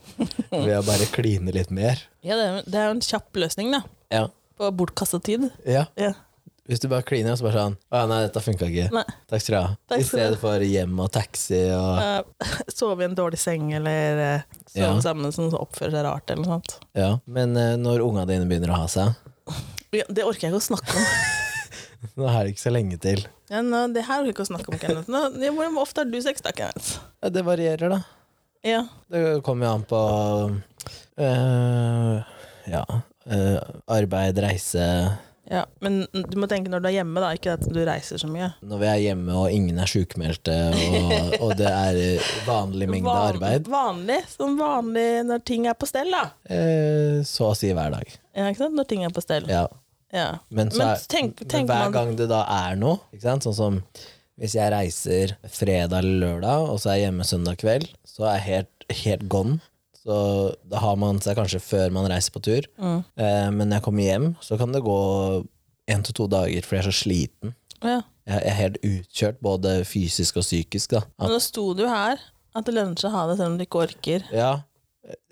ved å bare kline litt mer.
ja det, er, det er jo en kjapp løsning, da.
Ja.
På bortkasta tid.
ja.
Ja.
Hvis du bare kliner, og så bare sånn Å ja, nei, dette funka ikke.
Nei.
Takk skal du ha.
Takk
I
skal du ha.
stedet for hjem og taxi og
Eh, (laughs) sove i en dårlig seng, eller eh, sove
Ja.
sammen som oppfører seg rart, eller noe sånt.
Ja. Men eh, når unga dine begynner å ha seg (laughs)
Ja, det orker jeg ikke å snakke om.
Nå er det ikke så lenge til.
Ja, nå, det her orker jeg ikke å snakke om, Kenneth. Nå, det- hvor ofte har du sex, da, Kenneth?
Ja, det varierer, da.
Ja.
Det kommer jo an på eh, Ja. eh, arbeid, reise
ja. Men du må tenke når du er hjemme, da. Ikke at du reiser så mye.
Når vi er hjemme og ingen er sjukmeldte, og, og det er eh, vanlig mengde
Van-
arbeid,
Vanlig. Som vanlig når ting er på stell, da.
eh, så å si hver dag.
Ja, ikke sant? Når ting er på stell. Ja.
Ja. Men, så
Men
er,
tenk-
men
tenker
hver
man-
gang det da er noe, ikke sant? sånn som hvis jeg reiser fredag eller lørdag, og så er jeg hjemme søndag kveld, så er jeg helt, helt gone. Så da har man seg kanskje før man reiser på tur.
Mm.
Eh, men når jeg kommer hjem, så kan det gå én til to dager, for jeg er så sliten.
Ja.
Jeg jeg er helt utkjørt, både fysisk og psykisk. Da.
Men nå sto det jo her at det lønner seg å ha det selv om du ikke orker.
Ja,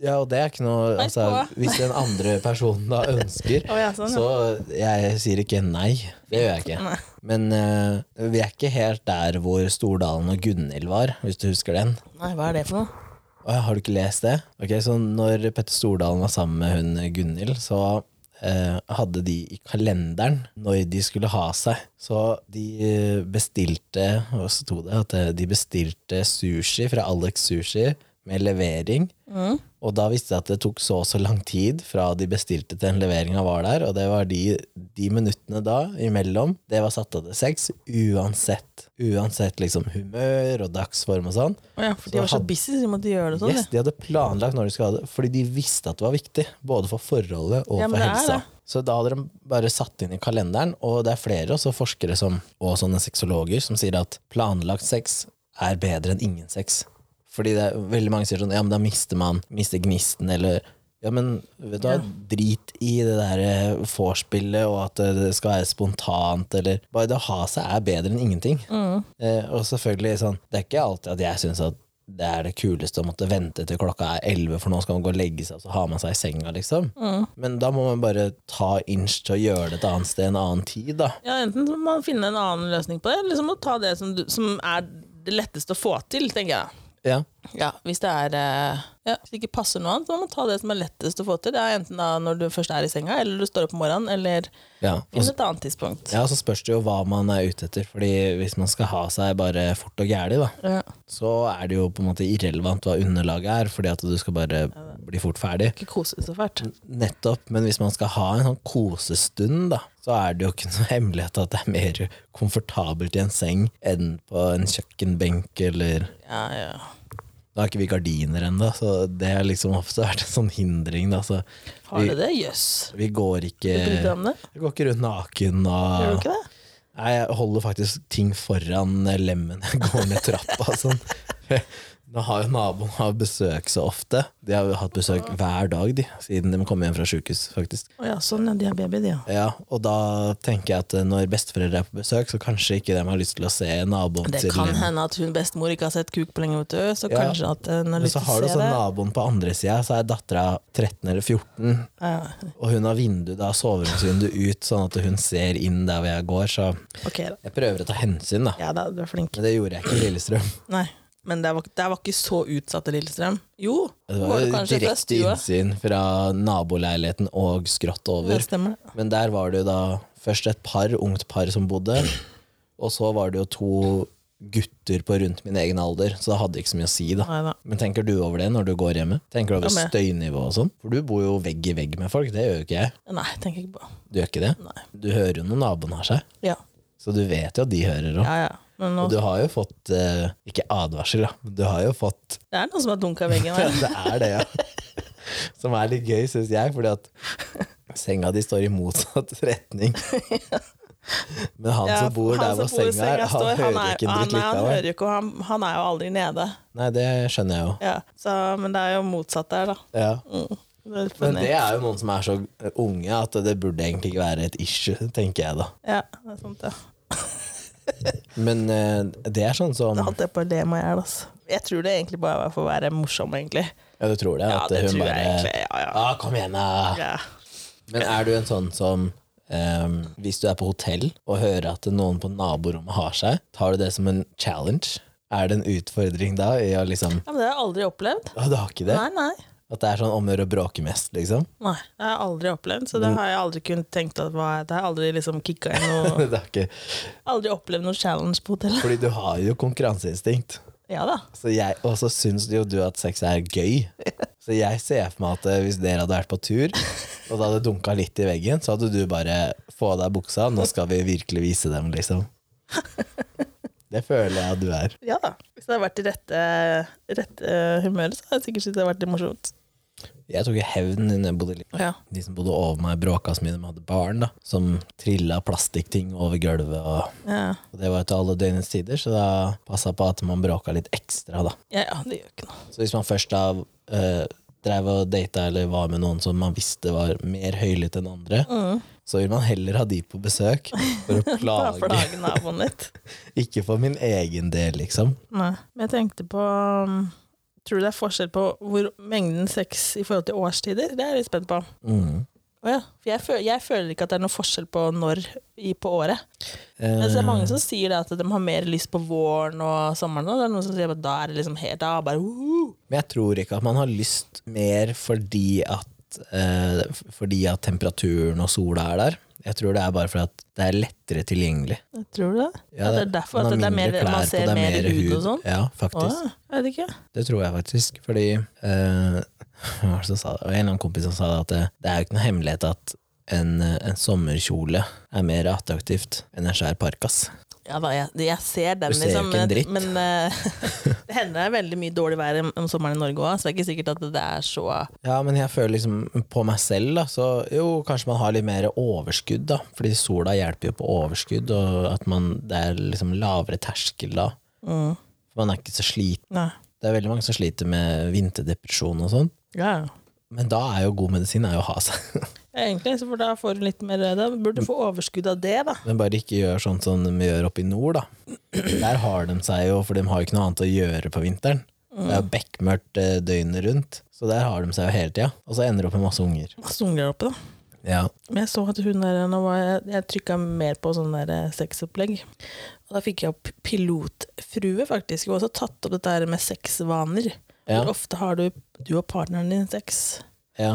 ja og det er ikke noe
Nei,
altså,
på.
Hvis den andre personen
(laughs)
da ønsker,
Å ja, sånn,
så
ja.
jeg sier ikke nei. Det gjør jeg ikke.
Nei.
Men eh, vi er ikke helt der hvor Stordalen og Gunhild var, hvis du husker den.
Nei, hva er det for noe?
Å, ja, har du ikke lest det? Ok, så Når Petter Stordalen var sammen med hun Gunhild, så eh, hadde de i kalenderen når de skulle ha seg. Så de eh, bestilte Hva sto det? At eh, de bestilte sushi fra Alex Sushi med levering. Og da visste jeg at det tok så og så lang tid fra de bestilte til den leveringa var der, og det var de, de minuttene da imellom, det var satt av til sex, uansett. Uansett liksom humør og dagsform og sånn.
Å Ja, for de var så busy, så de måtte gjøre det sånn.
Yes, de hadde planlagt når de skulle ha det, fordi de visste at det var viktig. Både for forholdet og
Ja, men
for
det er
helsa.
det.
Så da hadde de bare satt inn i kalenderen, og det er flere også forskere som, og sånne sexologer som sier at planlagt sex er bedre enn ingen sex. Fordi det er, veldig mange sier sånn ja, men da mister man mister gnisten, eller ja, men vet du hva, drit i det der eh, vorspielet og at eh, det skal være spontant, eller
Mm.
Bare det å ha seg er bedre enn ingenting. Eh, og selvfølgelig sånn, det er ikke alltid at jeg syns at det er det kuleste å måtte vente til klokka er 11, for nå skal man gå og legge seg, og så har man seg i senga, liksom. Men da må man bare ta inch til å gjøre det et annet sted en annen tid, da.
Ja, enten så må man finne en annen løsning på det, eller så må du ta det som, du, som er det letteste å få til, tenker jeg.
Ja.
Ja, hvis det er eh, ja, Hvis det ikke passer noe annet, så må man ta det som er lettest å få til. Det er enten da når du først er i senga, eller du står opp om morgenen, eller
ja. Og
finn et annet tidspunkt.
Ja, så spørs det jo hva man er ute etter. Fordi hvis man skal ha seg bare fort og gæli, da,
Ja.
så er det jo på en måte irrelevant hva underlaget er, fordi at du skal bare bli fort ferdig.
Ikke kose så fælt.
Nettopp, men hvis man skal ha en sånn kosestund, da, så er det jo ikke noe (laughs) hemmelighet at det er mer komfortabelt i en seng enn på en kjøkkenbenk eller
Ja, ja.
Da har ikke vi gardiner ennå, så det har liksom ofte vært en sånn hindring, da. Så
Har du det? Jøss.
vi går ikke
Du bryr deg om det?
Jeg går ikke rundt naken og
Gjør du ikke det?
Nei, jeg holder faktisk ting foran lemmen (laughs) jeg går ned trappa. og sånn. Nå har jo naboen har besøk så ofte. De har jo hatt besøk hver dag de, siden de kom hjem fra sjukehus. faktisk.
Å ja, sånn, ja. De har baby, de, ja.
Ja, Og da tenker jeg at eh, når besteforeldre er på besøk, så kanskje ikke de har lyst til å se naboen
Det
sin
kan
lem.
hende at hun bestemor ikke har sett kuk på lenge, vet du. Så
Ja.
kanskje at eh, hun har
Men
lyst
så
til å
har du
se
sånn
det.
naboen på andre sida, så er dattera 13 eller 14,
Ja. (laughs)
og hun har vindu, da, soveromsvindu ut, sånn at hun ser inn der hvor jeg går. Så
Ok, da.
jeg prøver å ta hensyn, da.
Ja da, du er flink.
Men det gjorde jeg ikke i Lillestrøm.
Nei. Men det var, det var ikke så utsatt, Lillestrøm. Jo,
Det
var
var
det
jo
kanskje fra
direkte
stua.
innsyn fra naboleiligheten og skrått
Det
over.
stemmer. det.
Men der var det jo da først et par, ungt par som bodde, og så var det jo to gutter på rundt min egen alder, så det hadde ikke så mye å si, da.
Nei da.
Men tenker du over det når du går hjemme? Tenker du over
Ja, men-
støynivå og sånn? For du bor jo vegg i vegg med folk, det gjør jo ikke jeg.
Nei, tenker ikke på.
Du gjør ikke det?
Nei.
Du hører jo når naboen har seg,
Ja,
så du vet jo at de hører òg.
ja. ja. Men nå,
Og du har jo fått, eh, ikke advarsel, da, men du har jo fått
det er noen som har dunka i veggen
Ja, (laughs)
her.
det er det, ja. Som er litt gøy, syns jeg, fordi at senga di står i motsatt (laughs)
(laughs)
retning. Men han
Ja,
som bor
han
der
som
hvor
bor i
senga er, han
står,
hører
er-
ikke en dritt
han, er- han
likevel.
hører jo ikke, og han, han er jo aldri nede.
Nei, det skjønner jeg jo.
Ja, så, men det er jo motsatt der, da.
Ja.
Mm. Det er litt
Men
funny.
det er jo noen som er så unge at det burde egentlig ikke være et issue, tenker jeg da.
Ja, det er sant, ja.
Men eh, det er sånn som
Da holdt jeg på å le meg i hjel, altså. Jeg tror det egentlig bare var for å være morsom, egentlig.
Ja, du tror det?
Ja,
At
det
hun
tror jeg
bare Ah.
egentlig. Ja, ja.
Ja, kom igjen, da!
ja.
Men er du en sånn som ehm, Hvis du er på hotell og hører at noen på naborommet har seg, tar du det som en challenge? Er det en utfordring da i å liksom
ja, men det har jeg aldri opplevd.
Å, du har ikke det?
Nei, nei.
At det er sånn om å gjøre å bråke mest, liksom? (laughs)
Nei, Det har jeg aldri opplevd, så det
Mm.
har jeg aldri kunnet tenkt at var, Det har jeg aldri liksom kicka inn
(laughs)
noe
det er ikke
Aldri opplevd noe challenge på hotellet.
Fordi du har jo konkurranseinstinkt.
Ja da.
Så jeg, og så syns jo du at sex er gøy. Så jeg ser for meg at eh, hvis dere hadde vært på tur, og det hadde dunka litt i veggen, så hadde du bare få av deg buksa, nå skal vi virkelig vise dem, liksom. Det føler jeg at du er.
Ja da. Hvis det hadde vært i rette, rette humøret, så hadde jeg sikkert syntes det hadde vært litt morsomt.
Jeg tok jo hevn når jeg bodde litt.
Ja.
De som bodde over meg, bråka så mye de hadde barn, da, som trilla plastikkting over gulvet. Og,
Ja,
og det var jo til alle døgnets tider, så da passa på at man bråka litt ekstra. da.
ja, ja det gjør ikke noe.
Så hvis man først da eh, drev og data eller var med noen som man visste var mer høylytt enn andre, så vil man heller ha de på besøk for å
Mm. (laughs) Bare
plage.
plage naboen litt.
Ikke for min egen del, liksom.
Nei. Men jeg tenkte på um, Tror du det er forskjell på hvor mengden sex i forhold til årstider? Det er jeg litt spent på.
Mm.
Å ja. For jeg, føl jeg føler ikke at det er noe forskjell på når i, på året. Men så er
Eh.
det mange som sier det at de har mer lyst på våren og sommeren. Og det er noen som sier at da er det liksom helt da, bare uhu.
Men jeg tror ikke at man har lyst mer fordi at, eh, fordi at temperaturen og sola er der. Jeg tror det er bare fordi at det er lettere tilgjengelig.
Tror du det?
Ja,
at det er derfor
man
at
har
det er mer,
mindre klær
man
på,
ser
det er
mer
mer
hud og
hud.
sånn?
Ja, faktisk.
Å, jeg vet ikke.
Det tror jeg faktisk. Fordi eh, (laughs) Hva var det som sa det? Det var En eller annen kompis som sa det, at det, det er jo ikke noe hemmelighet at en, eh, en sommerkjole er mer attraktivt enn en svær parkas.
Ja da, jeg, jeg ser den,
Du ser jo
liksom.
ikke en dritt.
Men, men, eh, (laughs) det hender det er veldig mye dårlig vær om om sommeren i Norge òg, så det er ikke sikkert at det er så
Ja, men jeg føler liksom på meg selv, da, så jo, kanskje man har litt mer overskudd, da. Fordi sola hjelper jo på overskudd, og at man, det er liksom lavere terskel da.
mm.
For man er ikke så sliten.
Nei.
Det er veldig mange som sliter med vinterdepresjon og sånn.
Ja.
Men da er jo god medisin er jo å ha seg. (laughs)
Ja, Egentlig, så for da får du litt mer Da burde du få overskudd av det, da.
Men bare ikke gjør sånn som de gjør oppe i nord, da. Der har de seg jo, for de har jo ikke noe annet å gjøre på vinteren. Det er jo bekmørkt eh, døgnet rundt, så der har de seg jo hele tida. Og så ender det opp med masse unger.
Masse unger der oppe, da.
Ja.
Men jeg så at hun der nå var Jeg, jeg trykka mer på sånn der eh, sexopplegg. Og da fikk jeg opp pilotfrue, faktisk. Hun har også tatt opp dette her med sexvaner.
Ja.
Hvor ofte har du, du og partneren din sex?
ja.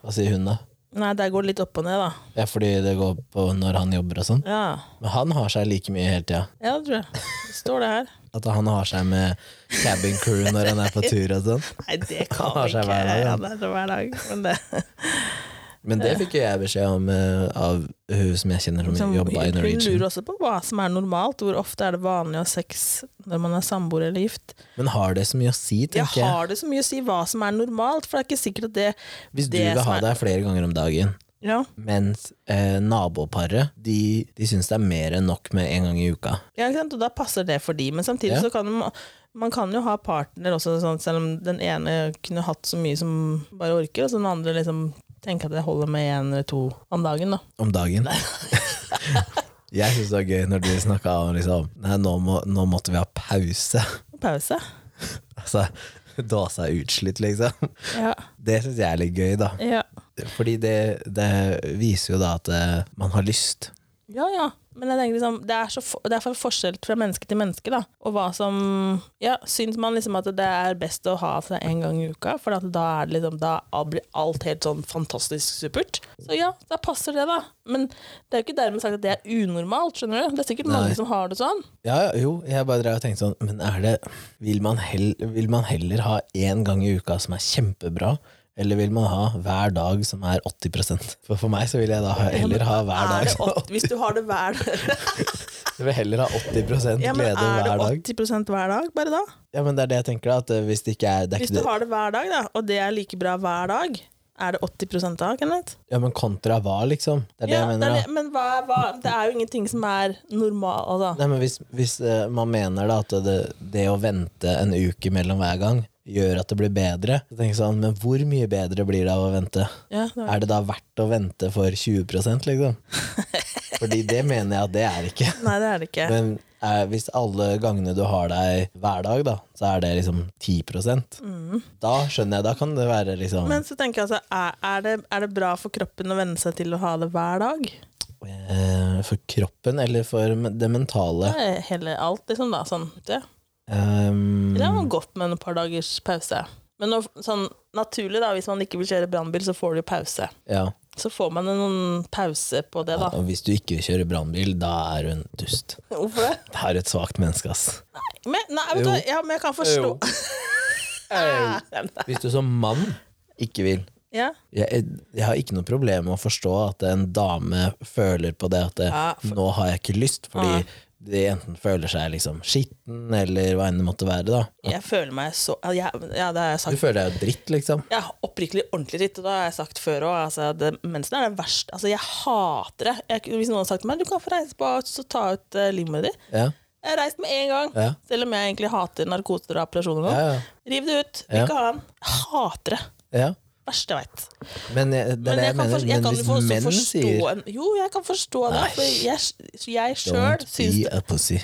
Hva sier hun, da?
Nei, der går det litt opp og ned, da.
Ja, fordi det går på når han jobber og sånn.
Ja,
Men han har seg like mye hele tida.
ja det tror jeg. Det står det her.
At han har seg med cabin crew når han er
(laughs)
på tur og sånn.
Nei,
(laughs)
det kan
Han har
vi
seg
ikke.
hver dag, ja.
Ja, det er det hver dag. Men det,
Men det fikk jo jeg beskjed om eh, av hun som jeg kjenner som
som,
jobba i
hun
Norwegian.
lurer også på hva som er normalt. Hvor ofte er det vanlig å ha sex når man er samboer eller gift?
Men har det så mye å si,
Jeg
tenker jeg.
har det så mye å si hva som er normalt, for det er ikke sikkert at det
Hvis du
det
vil
som
ha
er-
deg flere ganger om dagen,
Ja,
mens eh, naboparet de, de syns det er mer enn nok med en gang i uka.
ja ikke sant? og da passer det for de. Men samtidig
Ja.
så kan man, man kan jo ha partner også, sånn, selv om den ene kunne hatt så mye som bare orker, og så den andre liksom tenker at det holder med én eller to om dagen. da.
Om dagen. (laughs) Jeg syns det var gøy når du snakka om liksom Nei, nå, må, nå måtte vi ha pause. (laughs)
Pause.
Altså, (laughs) Dåsa er utslitt, liksom.
Ja.
Det syns jeg er litt gøy, da.
ja.
Fordi det, det viser jo da at eh, man har lyst.
Ja, ja. Men jeg tenker liksom, det er, så for, det er for forskjell fra menneske til menneske, da. Og hva som Ja, syns man liksom at det er best å ha seg en gang i uka, for at da, er det liksom, da blir alt helt sånn fantastisk supert. Så ja, da passer det, da. Men det er jo ikke dermed sagt at det er unormalt, skjønner du. Det er sikkert
Nei.
mange som har det sånn.
Ja, ja, jo, jeg bare drev og tenkte sånn Men er det Vil man, hell, vil man heller ha én gang i uka som er kjempebra, eller vil man ha hver dag som er 80 For for meg så vil jeg da ha- heller ha hver
Er
dag
det
som
åt- hvis du har det hver dag
(laughs) Jeg vil heller ha 80
ja, men
glede
Er
hver
det
dag.
80 hver dag, bare da?
Ja, men det er det jeg tenker, da. At eh, hvis det ikke er, det er
Hvis
ikke
du
det.
har det hver dag, da, og det er like bra hver dag, er det 80 da, Kenneth?
Ja, men kontra hva, liksom? Det er det jeg mener,
det
da.
er det, men hva, hva, det er jo ingenting som er normal, altså.
Nei, men hvis, hvis eh, man mener da at det, det å vente en uke mellom hver gang gjør at det blir bedre, så tenker jeg sånn, men hvor mye bedre blir det av å vente?
Ja, det er,
Er det da verdt å vente for 20
(laughs)
liksom? Fordi det mener jeg at det er ikke.
nei, det er det ikke.
Men eh, hvis alle gangene du har deg hver dag, da, så er det liksom 10 Da skjønner jeg, da kan det være liksom
Mm. Men så tenker jeg altså, er, er, det, er det bra for kroppen å venne seg til å ha det hver dag?
eh, For kroppen eller for men- det mentale.
Det er hele alt, liksom, da. Sånn. Det,
Um,
det er jo godt med en par dagers pause. Men nå, sånn naturlig, da, hvis man ikke vil kjøre brannbil, så får du jo pause.
ja.
Så får man en pause på det, da.
Og hvis du ikke kjører brannbil, da er du en dust.
Hvorfor det?
Det er et svakt menneske, ass.
Men, nei, vet
Jo.
du, hva, ja, men jeg kan forstå (laughs)
Hvis du som mann ikke vil
ja.
jeg, jeg har ikke noe problem med å forstå at en dame føler på det at det,
Ja, for-
'nå har jeg ikke lyst', fordi de enten føler seg liksom skitten, eller hva enn det måtte være. da
Jeg føler meg så Ja, ja det har jeg sagt
Du føler deg jo dritt, liksom.
Jeg er oppriktig ordentlig dritt, og det har jeg sagt før òg. Altså, det- mensen er det verste. Altså, jeg hater det. Jeg, hvis noen har sagt til meg du kan få reise på og så ta ut uh, livmoren din,
Ja,
jeg har reist med en gang.
ja,
Selv om jeg egentlig hater narkoser og operasjoner. nå.
ja, ja.
Riv det ut.
Ja.
Vil Ikke ha den. Jeg hater det.
ja.
Verste jeg veit.
Men jeg, det er
Men
det
jeg
jeg
kan,
mener.
for, jeg
Men
kan jo også
hvis menn
forstå
sier
en, Jo, jeg kan forstå det.
Nei.
For jeg jeg sjøl
Don't
syns (laughs)
be a pussy.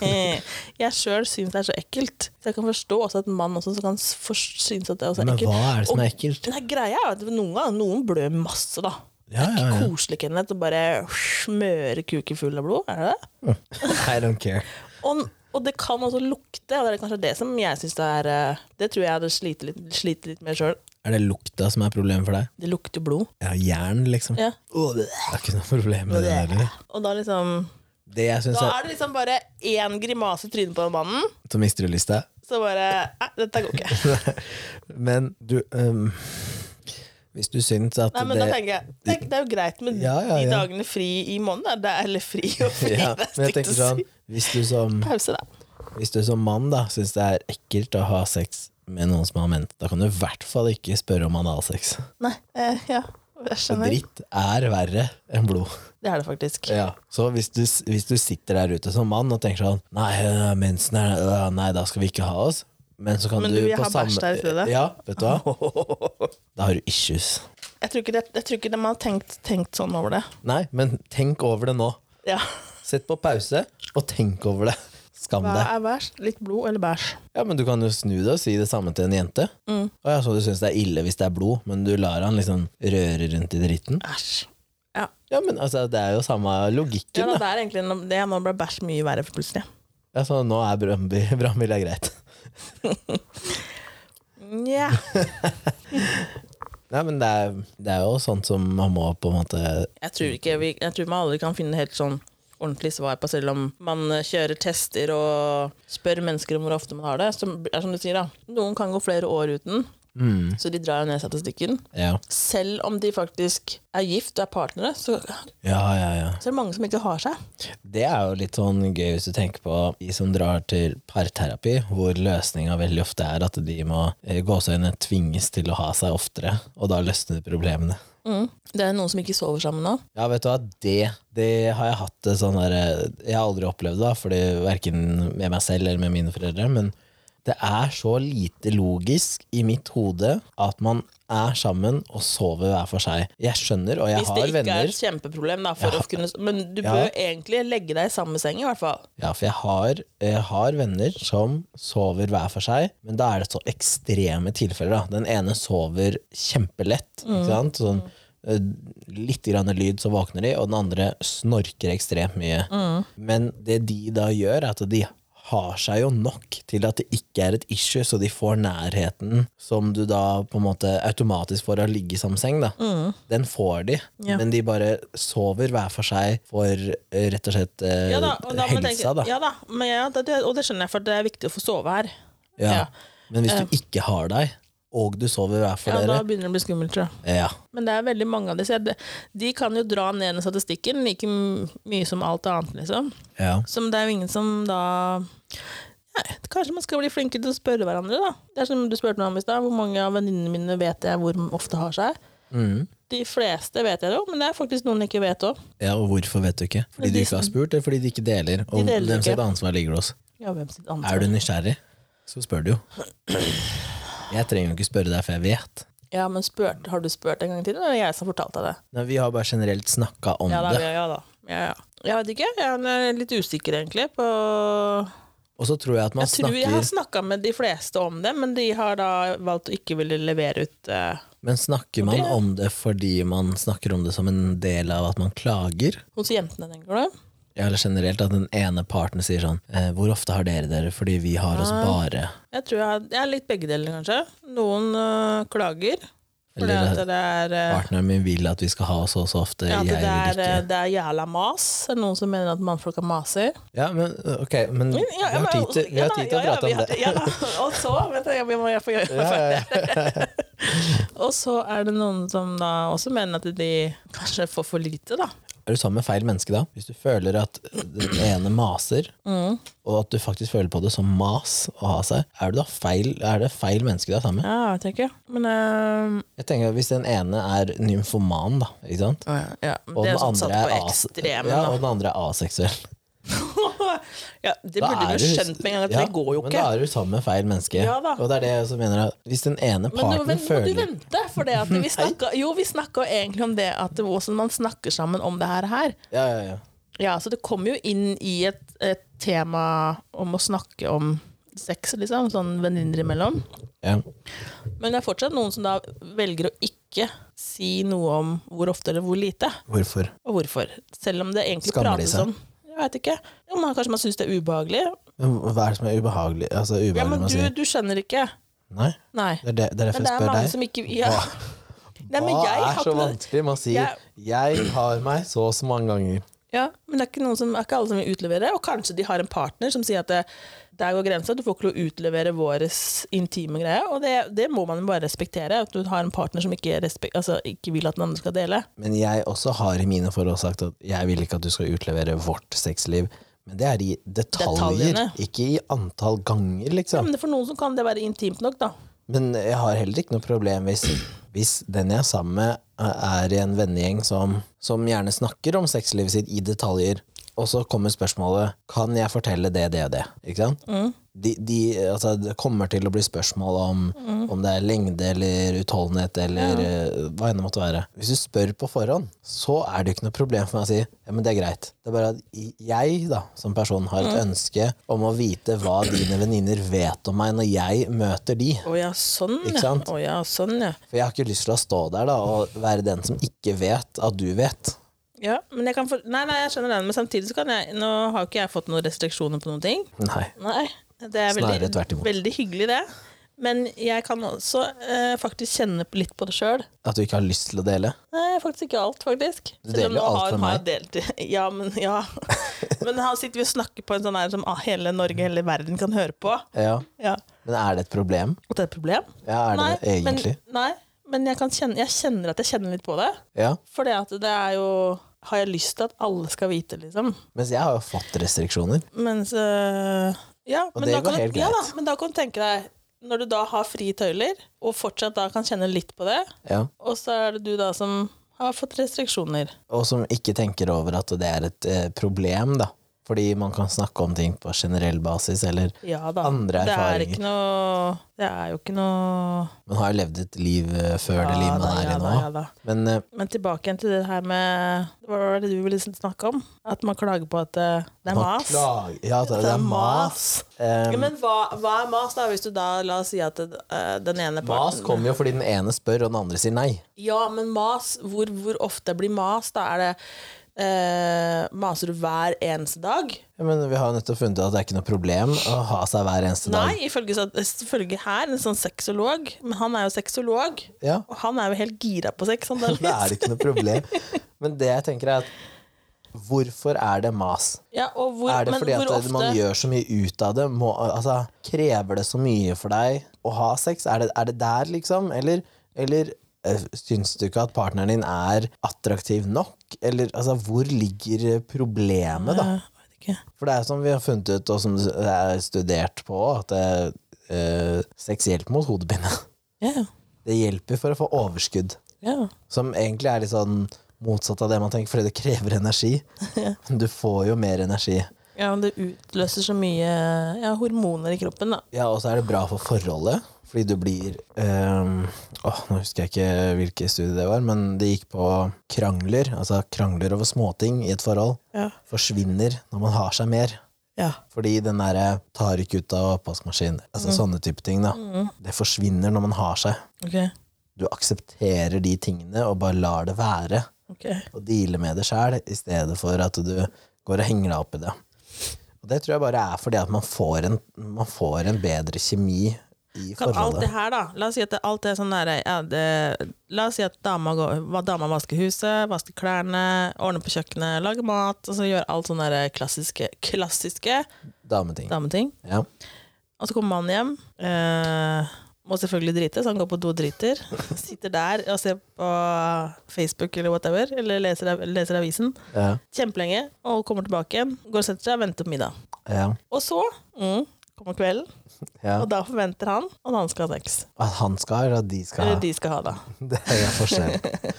Jeg selv syns det er så ekkelt. Så jeg kan forstå også at en mann også kan s- for- synes at det også er
Men
ekkelt.
hva er det som
Og
er ekkelt? (laughs)
Nei, greia er jo at noen, ganger- noen blør masse, da.
Ja, ja, ja.
Koselig, Kenneth, å bare smøre kuken full av blod. Er det det?
I don't care.
Og, og det kan også lukte, og det er kanskje det som jeg syns er eh, Det tror jeg jeg hadde slitt litt, slitt litt med sjøl.
Er det lukta som er problemet for deg?
Det lukter blod.
Ja, jern, liksom.
Ja.
Åh, Det er ikke noe problem med det der. eller?
Og da liksom
Det jeg syns
Da
er
er det liksom bare én grimase i trynet på den mannen,
Så mister du lista. (laughs)
så bare Nei, dette går ikke.
Men du øhm, Hvis du syns at
Nei, men da
det
tenker jeg tenk, Det er jo greit med
Ja, ja,
de
ja.
dagene fri i måneden. da. Det er, eller fri
(laughs)
og fri, (laughs)
ja,
det er
men jeg
stygt
tenker
å
sånn
si.
Hvis du som,
Pause, da.
hvis du som mann da syns det er ekkelt å ha sex med noen som har ment, da kan du i hvert fall ikke spørre om analsex.
Nei, eh, ja. Jeg
For
skjønner.
dritt er verre enn blod.
Det er det faktisk.
Så hvis du, hvis du sitter der ute som mann og tenker sånn Nei, øh, mensen er øh, Nei, da skal vi ikke ha oss. Men så kan
Men
du,
du, jeg
på
har
samme
bæsj der i stedet.
Ja, vet du
(laughs)
hva? Da har du issues.
Jeg tror ikke, det, jeg tror ikke de har tenkt, tenkt sånn over det.
Nei, men tenk over det nå.
Ja.
Sett på pause og tenk over det. Skam
Hva
deg.
er verst? Litt blod eller bæsj?
Ja, men du kan jo snu det og si det samme til en jente.
Mm.
Å ja, så du syns det er ille hvis det er blod, men du lar han liksom røre rundt i dritten?
Æsj.
Ja, men altså, det er jo samme
Ja,
logikken,
nå,
da.
det er egentlig, nå- det, nå ble bæsj mye verre plutselig.
Ja, så nå er Brannbil- brannbil er greit.
Nja.
Nei, men det er, det er jo sånt som man må på en måte
Jeg tror, ikke vi, jeg tror man aldri kan finne helt sånn ordentlig svar på, selv om man eh, kjører tester og spør mennesker om hvor ofte man har det. Som, er som du sier da, Noen kan gå flere år uten,
mm,
så de drar jo ned statistikken.
ja.
Selv om de faktisk er gift og er partnere, så, så
ja, ja, ja.
er det mange som ikke har seg.
Det er jo litt sånn gøy hvis du tenker på de som drar til parterapi, hvor løsninga veldig ofte er at de må eh, gåseøyne tvinges til å ha seg oftere, og da løsner problemene.
Mm. Det er noen som ikke sover sammen nå.
Ja, vet du hva, det, det har jeg hatt det sånn der Jeg har aldri opplevd det, da, fordi verken med meg selv eller med mine foreldre, men det er så lite logisk i mitt hode at man er sammen og sover hver for seg. Jeg skjønner, og jeg
Hvis det
har
ikke er
venner.
et kjempeproblem, da, for
Ja.
å kunne, men du
Ja.
bør egentlig legge deg i samme seng, i hvert fall.
Ja, for jeg har, jeg har venner som sover hver for seg, men da er det så ekstreme tilfeller. Da. Den ene sover kjempelett. Ikke sant? Sånn, eh, litt grann lyd, så våkner de, og den andre snorker ekstremt mye. Men det de da gjør, er at de har seg jo nok til at det ikke er et issue, så de får nærheten som du da på en måte automatisk får av å ligge i samme seng. Da. Den får de,
Ja.
men de bare sover hver for seg for eh, rett og slett eh,
Ja da, og da må jeg
helsa,
tenke-
da.
Ja da, men ja, det, det- og det skjønner jeg, for det er viktig å få sove her.
Ja.
Ja.
Men hvis du ikke har deg, og du sover hver for
Ja, da
dere
begynner det å bli skummelt, tror jeg.
ja.
Men det er veldig mange av disse. De, de kan jo dra ned den statistikken like m- mye som alt annet, liksom.
Ja.
Som det er jo ingen som da Nei, Kanskje man skal bli flinkere til å spørre hverandre, da. Det er som du spurte meg om i stad, hvor mange av venninnene mine vet jeg hvor ofte har seg?
Mm.
De fleste vet jeg det jo, men det er faktisk noen jeg ikke vet òg.
ja, og hvorfor vet du ikke? Fordi
Men
du
de
ikke har spurt, eller fordi de ikke deler? Og
deler
hvem sitt
ikke.
ansvar ligger det hos?
Ja, hvem sitt ansvar?
Er du nysgjerrig, så spør du jo. Jeg trenger jo ikke spørre deg, for jeg vet.
Ja, men spurt, har du spurt en gang til, eller er det jeg som fortalte deg det?
Nei, vi har bare generelt snakka om
Ja da,
det.
ja, ja da. Ja, ja. Jeg vet ikke. Jeg er eh, litt usikker, egentlig. På
Og så tror jeg at man
jeg tror jeg
snakker
har snakka med de fleste om det, men de har da valgt å ikke ville levere ut eh,
Men snakker man om det fordi man snakker om det som en del av at man klager?
hos jentene, tenker du?
Ja, Eller generelt at den ene parten sier sånn eh, 'Hvor ofte har dere dere?' Fordi vi har oss
Ah.
bare
Jeg tror jeg, har- jeg er litt begge deler, kanskje. Noen eh, klager. Fordi
Eller-
at det er, eh,
Partneren min vil at vi skal ha så og så ofte.
ja, at
jeg
det, er,
vil
eh,
ikke.
det er jævla mas. Det er Noen som mener at mannfolka maser.
Ja, men eh, ok, men vi
Ja, ja,
har
men-
tid til, vi
ja
har
da,
tid til å
ja, ja,
prate
vi
om
har-
det.
Ja, da. og så Vent, jeg må jeg får gjøre
Ja, ja, ja.
(laughs) Og så er det noen som da også mener at de kanskje får for lite, da.
Er du sammen med feil menneske da? Hvis du føler at den ene maser,
Mm.
og at du faktisk føler på det som mas å ha seg, er, du da feil, er det feil menneske du er sammen med?
Ja, jeg vet ikke. Men eh,
Jeg tenker at Hvis den ene er nymfoman, da, ikke sant?
ja,
og
Det
den,
er sånn satt
andre er
på
as-
ekstremen,
ja, og den andre er aseksuell
da. (laughs) ja, det
Da
burde
er
du skjønt med en gang at
ja,
det går jo
Men
ikke.
da er du sammen med feil menneske.
Ja da.
Og det er det jeg også mener at Hvis den ene
Men nå
parten
vent- må du
føler
vente, for det at
(laughs)
vi snakka Jo, vi snakka egentlig om det at det- hvordan man snakker sammen om det her her.
ja, ja, ja.
Ja, så det kommer jo inn i et, et tema om å snakke om sex, liksom. Sånn venninner imellom.
Ja.
Men det er fortsatt noen som da velger å ikke si noe om hvor ofte eller hvor lite,
Hvorfor?
og hvorfor. Selv om det egentlig
Skammer de
prates
seg?
om. Jeg vet ikke. Jo, man, kanskje man syns det er ubehagelig.
Men Hva er det som er ubehagelig? Altså, ubehagelig
Ja, men
med å
du,
si?
du skjønner ikke.
Nei,
Nei.
det er, det, det er derfor
Men det
jeg
er
spør
mange
deg.
som ikke ja. Nei, men jeg
Hva
har
er så
ikke noe-
vanskelig med å si
Jeg-
'jeg har meg så og så mange ganger'?
Ja, men det er ikke, noen som, er ikke alle som vil utlevere. Og kanskje de har en partner som sier at det, der går grensa, du får ikke lov å utlevere våres intime greie. Og det, det må man jo bare respektere. At du har en partner som ikke, respek altså, ikke vil at den andre skal dele.
Men jeg også har i mine forhold sagt at jeg vil ikke at du skal utlevere vårt sexliv. Men det er i detaljer,
Detaljene.
ikke i antall ganger,
Ja,
liksom.
men for noen som kan det være intimt nok, da.
Men jeg har heller ikke noe problem hvis, hvis den jeg er sammen med, er i en vennegjeng som, som gjerne snakker om sexlivet sitt i detaljer. Og så kommer spørsmålet 'Kan jeg fortelle det, det og det?' Ikke sant? de, de, altså, det kommer til å bli spørsmål om, om det er lengde eller utholdenhet eller eh, hva enn det måtte være. Hvis du spør på forhånd, så er det jo ikke noe problem for meg å si ja, men det er greit. Det er bare at jeg da, som person har et ønske om å vite hva dine venninner vet om meg når jeg møter de.
Å ja, sånn,
Ikke
ja.
sant?
Å ja, sånn, ja.
For jeg har ikke lyst til å stå der da, og være den som ikke vet at du vet.
Ja, men jeg kan for... Nei, nei, jeg skjønner den, men samtidig så kan jeg Nå har jo ikke jeg fått noen restriksjoner på noen ting.
Nei.
Nei, det er
Snarere
veldig,
tvert imot.
veldig hyggelig, det. Men jeg kan også eh, faktisk kjenne på- litt på det sjøl.
At du ikke har lyst til å dele.
Nei, faktisk ikke alt, faktisk.
Du deler
Selv om
jo
nå
alt
har-
med
har
meg.
jeg Delt, (laughs) ja, men
(laughs)
ja. Men her sitter vi og snakker på en sånn her som ah, hele Norge, hele verden kan høre på.
Ja.
Ja.
Men er det et problem?
Og det er et problem.
Ja, er det det egentlig?
Men, nei, men jeg, kan kjenne, jeg kjenner at jeg kjenner litt på det.
Ja.
For det at det er jo Har jeg lyst til at alle skal vite, liksom?
Mens jeg har jo fått restriksjoner.
Mens øh, ja, men
det
da
går
kan,
helt
du- ja da,
greit.
men da kan du tenke deg Når du da har frie tøyler, og fortsatt da kan kjenne litt på det,
Ja.
og så er det du da som har fått restriksjoner.
Og som ikke tenker over at det er et eh, problem, da. Fordi man kan snakke om ting på generell basis, eller
Ja da.
Andre
det er
erfaringer.
ikke noe Det er jo ikke noe
Man har jo levd et liv eh, før det
Ja
livet
da,
man er i
ja da,
nå.
ja da.
Men eh,
Men tilbake igjen til det her med Hva var det du ville snakke om? At man klager på at eh, det er
man
mas.
klager- Ja, da, det er mas.
Ja,
Um,
men hva, hva er mas, da? Hvis du da la oss si at eh, den ene parten
mas kommer jo fordi den ene spør, og den andre sier nei.
Ja, men mas, hvor, hvor ofte blir mas? Da er det eh, Maser du hver eneste dag?
Ja, men vi har jo nettopp funnet ut at det er ikke noe problem å ha seg hver eneste dag.
Nei, ifølge, så- ifølge her, en sånn sexolog. Men han er jo sexolog,
Ja,
og han er jo helt gira på sex.
(laughs)
Han,
da er det ikke noe problem. Men det jeg tenker er at hvorfor er det mas?
ja, og hvor,
er det
men
fordi at
hvor ofte,
man gjør så mye ut av det? Må, altså, krever det så mye for deg å ha sex? Er det, er det der, liksom? Eller, eller eh, syns du ikke at partneren din er attraktiv nok? Eller altså, hvor ligger problemet, da?
Eh, jeg vet ikke.
For det er som vi har funnet ut, og som det er studert på, at det, eh, sex hjelper mot hodepine. (laughs)
Ja, ja,
Det hjelper for å få overskudd.
ja. (laughs)
Som egentlig er litt sånn motsatt av det man tenker, fordi det krever energi. Du får jo mer energi.
Ja, men det utløser så mye ja, hormoner i kroppen, da.
Ja, og så er det bra for forholdet, fordi du blir ehm, åh, Nå husker jeg ikke hvilke studier det var, men det gikk på krangler. Altså krangler over småting i et forhold
Ja.
forsvinner når man har seg mer.
Ja.
Fordi den derre tar ikke ut av oppvaskmaskinen, altså sånne type ting, da. Det forsvinner når man har seg.
Ok.
Du aksepterer de tingene og bare lar det være.
ok.
Og deale med det sjæl, i stedet for at du går og henger deg opp i det. Og det tror jeg bare er fordi at man får en, man får en bedre kjemi i
Kan alt
forholdet.
det her, da La oss si at det, alt det er sånn der, ja, det, La oss si at dama, går, hva- dama vasker huset, vasker klærne, ordner på kjøkkenet, lager mat, og så gjør alt sånne der klassiske, klassiske
Dameting.
dameting.
Ja.
Og så kommer mannen hjem. Eh, må selvfølgelig drite, så han går på do og driter. Sitter der og ser på Facebook eller whatever, eller leser, av- leser avisen
Ja.
kjempelenge, og kommer tilbake igjen. Går og setter seg og venter på middag.
Ja.
Og så mm, kommer kvelden,
ja.
og da forventer han at han skal ha sex.
At han skal, eller at de skal
Eller
ha.
de skal ha, da.
(laughs) Det er jo forskjell.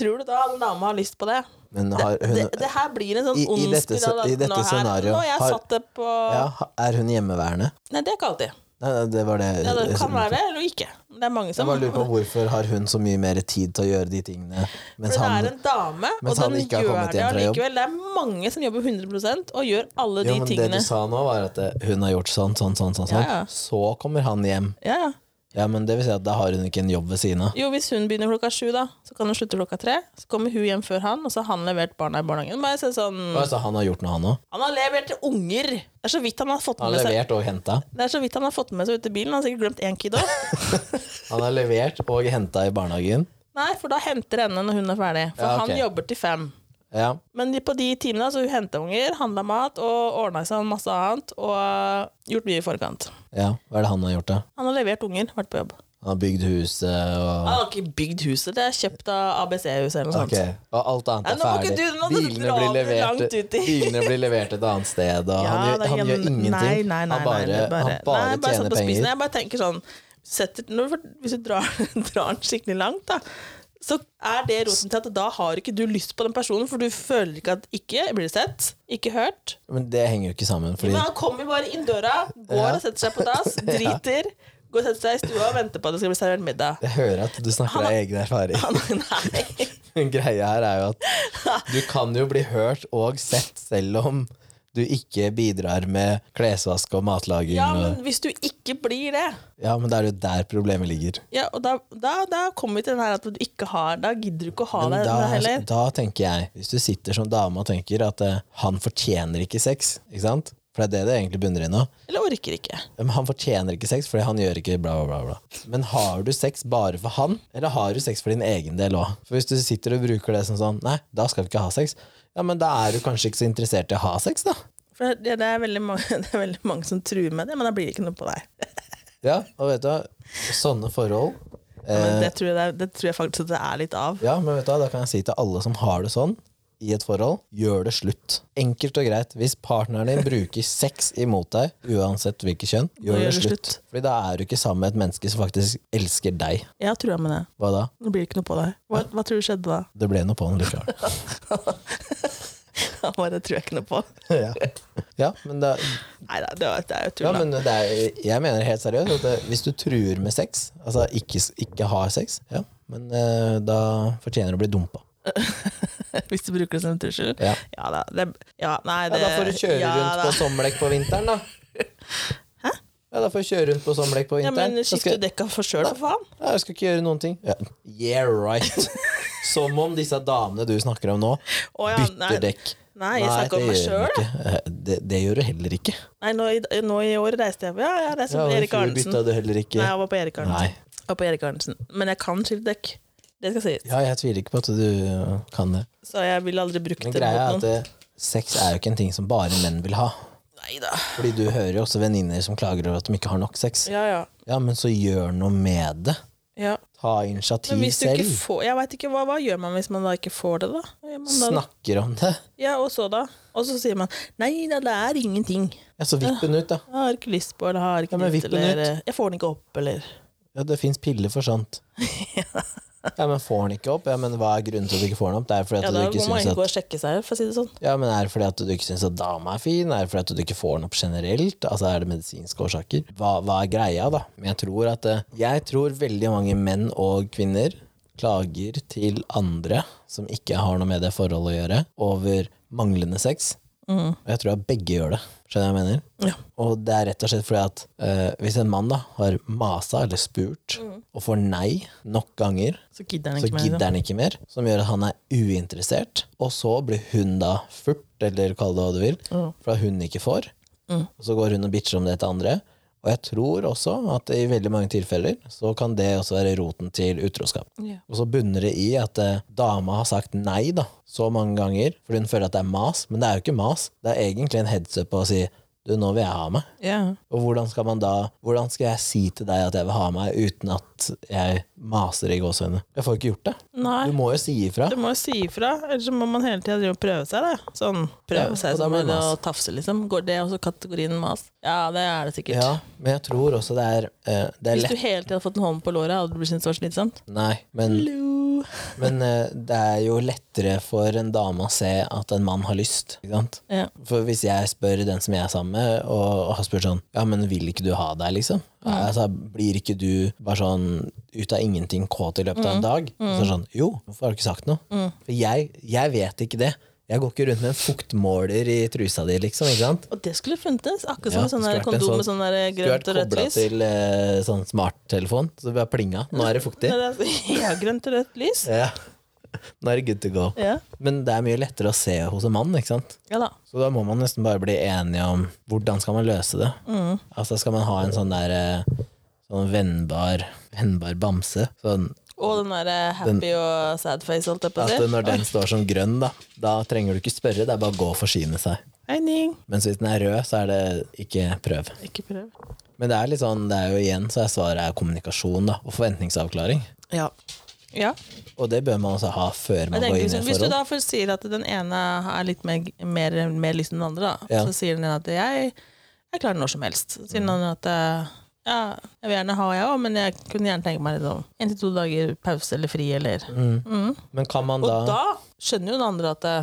Tror du da den dama har lyst på det?
Men har hun
Det, det her blir en sånn
I- i
ond
dette
spiral.
se-
at
i dette
nå her-
scenarioet
Nå har jeg
har-
satt det på
ja, Er hun hjemmeværende?
Nei, det er ikke alltid.
Nei, nei, det var det sånn-
Ja, det kan være det, eller ikke. Det er mange
Jeg
som
bare lurer på hvorfor har hun så mye mer tid til å gjøre de tingene, mens
For det er
han
en dame,
mens
og
han
den
ikke har
gjør
kommet
det
hjem fra jobb.
allikevel. Det er mange som jobber 100 og gjør
Jo,
alle de
men det
tingene.
du sa nå, var at eh, hun har gjort sånn, sånn, sånn, sånn. sånn.
Ja, ja.
Så kommer han hjem.
Ja, ja.
Ja, men det vil si at da har hun ikke en jobb ved siden av.
Jo, hvis hun begynner klokka sju, da, så kan hun slutte klokka tre. Så kommer hun hjem før han, og så har han levert barna i barnehagen. Bare se sånn,
Altså, han har gjort noe, han òg.
han har levert til unger! Det er så vidt han har fått
Han
med
har
seg
levert og henta.
Det er så vidt han har fått med seg ut i bilen. Han har sikkert glemt én kid òg.
(laughs) Han har levert og henta i barnehagen.
Nei, for da henter henne når hun er ferdig. For
Ja, ok.
han jobber til fem.
Ja.
Men de- på de timene så hun henta unger, handla mat og ordna seg masse annet. Og øh, gjort mye i forkant.
ja. Hva er det han har gjort, da?
Han har levert unger, vært på jobb.
Han har bygd huset og
Han har ikke bygd huset, det er kjøpt av ABC-huset eller noe
Ok,
sånt.
Og alt annet
Ja,
er
nå må ikke
ferdig.
du- nå må du
Bilene
dra
blir,
det
levert,
langt ut i- (laughs)
bilene blir levert et annet sted, og
Ja,
han
det
gjør,
er
han gjør
gjen-
ingenting.
Nei, nei, nei,
han bare,
nei, det er
han bare
nei, satt
tjener
på
penger.
spisen. (laughs) Jeg bare tenker sånn setter, når, Hvis du drar, drar den skikkelig langt, da, så er det roten til at da har ikke du lyst på den personen, for du føler ikke at ikke blir sett, ikke hørt.
Men det henger jo ikke sammen, fordi
Men han kommer bare inn døra, går og setter seg
(laughs)
på dass, driter, går og setter seg i stua og venter på at det skal bli servert
(laughs)
middag.
jeg hører at du snakker av egen erfaring.
Han, (laughs) nei.
(laughs) Greia her er jo at du kan jo bli hørt og sett selv om du ikke bidrar med klesvask og matlaging.
Ja,
og-
men hvis du ikke blir det,
ja, men det er jo der problemet ligger.
ja, og da, da, da kommer vi til den her at du ikke har Da gidder du ikke å ha
Men
det
da,
det heller.
da tenker jeg, hvis du sitter som dame og tenker at eh, han fortjener ikke sex, ikke sant? For det er det det egentlig bunner i nå.
Eller orker ikke.
Men han fortjener ikke sex fordi han gjør ikke bla, bla, bla. bla. Men har du sex bare for han, eller har du sex for din egen del òg? For hvis du sitter og bruker det som sånn, nei, da skal vi ikke ha sex, ja, men da er du kanskje ikke så interessert i å ha sex, da.
For det, det, er veldig mange, (laughs) det er veldig mange som truer med det, men da blir det ikke noe på deg.
Ja, og vet du, hva? sånne forhold eh,
Men det tror jeg, det er- det tror jeg faktisk at det er litt av.
Ja, men vet du hva, da kan jeg si til alle som har det sånn i et forhold, gjør det slutt. Enkelt og greit. Hvis partneren din bruker sex imot deg, uansett hvilket kjønn, gjør, det slutt. Fordi da er du ikke sammen med et menneske som faktisk elsker deg.
Jeg har trua med det.
Hva da?
Nå blir det ikke noe på deg. Hva, hva tror du skjedde da? (laughs)
Det ble noe på den (laughs) likevel.
Han bare, det tror jeg ikke noe på.
ja. ja, men da
Nei da, det, var- det er jo
Ja,
tull. da.
men det er, jeg mener helt seriøst at det- hvis du truer med sex, altså ikke, ikke har sex, ja, men eh, da fortjener du å bli dumpa.
(laughs) Hvis du bruker det som en trussel.
Ja.
Ja da. Det, ja, nei,
Ja,
det,
da får du kjøre
ja,
rundt på sånn
da.
sommerdekk på vinteren, da. Hæ? Ja, da får du kjøre rundt på sommerdekk på
Ja,
vinteren.
men
Da skal-
skifte dekka for sjøl, for faen.
Ja, jeg skal ikke gjøre noen ting. Ja. Yeah,
(laughs)
right. Som om disse damene du snakker om nå,
Å ja, nei.
bytter dekk.
Nei, jeg snakker om meg
det gjør
selv,
de ikke. Eh, Det, det gjør du heller ikke.
Nei, nå i, nå i år reiste jeg Ja, jeg reiste
Ja,
på
og i
Erik
fjor
Arnesen.
bytta du heller
Nei,
ikke.
jeg var på Erik Arnesen.
Nei.
Jeg var på Erik Arnesen. Men jeg kan skifte dekk. Det skal sies.
Ja, jeg tviler ikke på at du eh, kan det.
Så jeg ville aldri brukt
Men
det
greia er at
mot noen.
eh, sex er jo ikke en ting som bare menn vil ha.
Nei da.
Fordi du hører jo også venninner som klager over at de ikke har nok sex.
Ja, ja.
Ja, men så gjør noe med det.
ja.
Ta
Men
initiativ
hvis du ikke
selv.
får Jeg vet ikke, hva, hva gjør man hvis man da ikke får det, da? Hva gjør man da?
Snakker om det.
Ja, og så da? Og så sier man nei da, det er ingenting.
Ja, så vipp den ut, da.
Jeg har ikke lyst på, eller har ikke
Ja, men
lyst,
vipp den
eller eh, jeg får den ikke opp, eller
Ja, det fins piller for
(laughs)
sånt. ja, men får den ikke opp? Ja, men Hva er grunnen til at du ikke får den opp? Det er fordi at
Ja,
du
da
ikke
må man
syns
ikke gå
at
og sjekke seg, for å si det sånn.
ja, men er det fordi at du ikke syns at dama er fin? Er det fordi at du ikke får den opp generelt? Altså Er det medisinske årsaker? Hva, hva er greia, da? Men jeg tror at eh, Jeg tror veldig mange menn og kvinner klager til andre som ikke har noe med det forholdet å gjøre, over manglende sex. Og jeg tror at begge gjør det. Skjønner du hva jeg mener?
Ja.
Og det er rett og slett fordi at eh, hvis en mann da har masa eller spurt og får nei nok ganger,
Så gidder den
så
ikke mer.
gidder
liksom.
han ikke mer, som gjør at han er uinteressert. Og så blir hun da furt, eller kall det hva du vil,
Ja. Mm.
for at hun ikke får. Og så går hun og bitcher om det til andre. Og jeg tror også at i veldig mange tilfeller så kan det også være roten til utroskap.
Ja.
Og så bunner det i at eh, dama har sagt nei da, så mange ganger, fordi hun føler at det er mas. Men det er jo ikke mas. Det er egentlig en heads up på å si du, nå vil jeg ha meg.
Ja.
Og hvordan skal man da Hvordan skal jeg si til deg at jeg vil ha meg, uten at jeg maser i gåsehudene? Jeg får ikke gjort det.
Nei,
Du må jo si ifra.
du må jo si ifra, ellers så må man hele tida drive og prøve seg, da. Sånn
Ja,
prøve
og
seg
da
som
blir det
bare å
mas.
tafse, liksom. Går det også kategorien mas? Ja, det er det sikkert.
Ja, men jeg tror også det er eh, Det er
Hvis du
lett
hele tida hadde fått en hånd på låret, hadde du blitt syntes det var slitsomt?
Nei, men,
Hallo.
men eh, det er jo lettere for en dame å se at en mann har lyst. Ikke sant?
Ja.
For hvis jeg spør den som jeg er sammen med, og, og har spurt sånn Ja, men vil ikke du ha deg, liksom? Altså, blir ikke du bare sånn ut av ingenting kåt i løpet
Mm.
av en dag? Og så er det sånn Jo, hvorfor har du ikke sagt noe? For jeg, jeg vet ikke det. Jeg går ikke rundt med en fuktmåler i trusa di, liksom. ikke sant?
Og det skulle funnes, akkurat som
Ja,
en sånn
det
der
skulle vært en
kondom med
sånn-
sånn der
Skulle vært
grønt og rødt
kobla
lys.
til eh, sånn smarttelefon, så det bare plinga. Nå er det fuktig.
Nei, (laughs) det er- (laughs) Ja, grønt og rødt lys.
Ja. Nå er det good to go.
Ja,
Men det er mye lettere å se hos en mann, ikke sant?
ja da.
Så da må man nesten bare bli enige om hvordan skal man løse det.
Mm.
Altså Skal man ha en sånn der eh, sånn vennbar, vennbar bamse? Sånn
Og den derre happy og sad face, holdt jeg på å
at
si.
når den står som grønn, da, da trenger du ikke spørre, det er bare å gå og forsyne seg.
Hegning.
Mens hvis den er rød, så er det ikke prøv.
Ikke prøv.
Men det er litt sånn, det er jo igjen så er svaret er kommunikasjon da, og forventningsavklaring.
Ja. ja.
Og det bør man også ha før
Jeg
man går
tenker,
inn i
liksom,
et
hvis du
forhold.
da først sier at den ene er litt mer, mer, mer lysten enn den andre, da,
Ja. Mm.
så sier den ene at jeg, jeg klarer når som helst. Så sier den andre at eh, Ja, jeg vil gjerne ha, jeg òg, men jeg kunne gjerne tenke meg litt sånn en til to dager pause eller fri, eller
Mm. Men kan man
Og
da,
da skjønner jo den andre at det,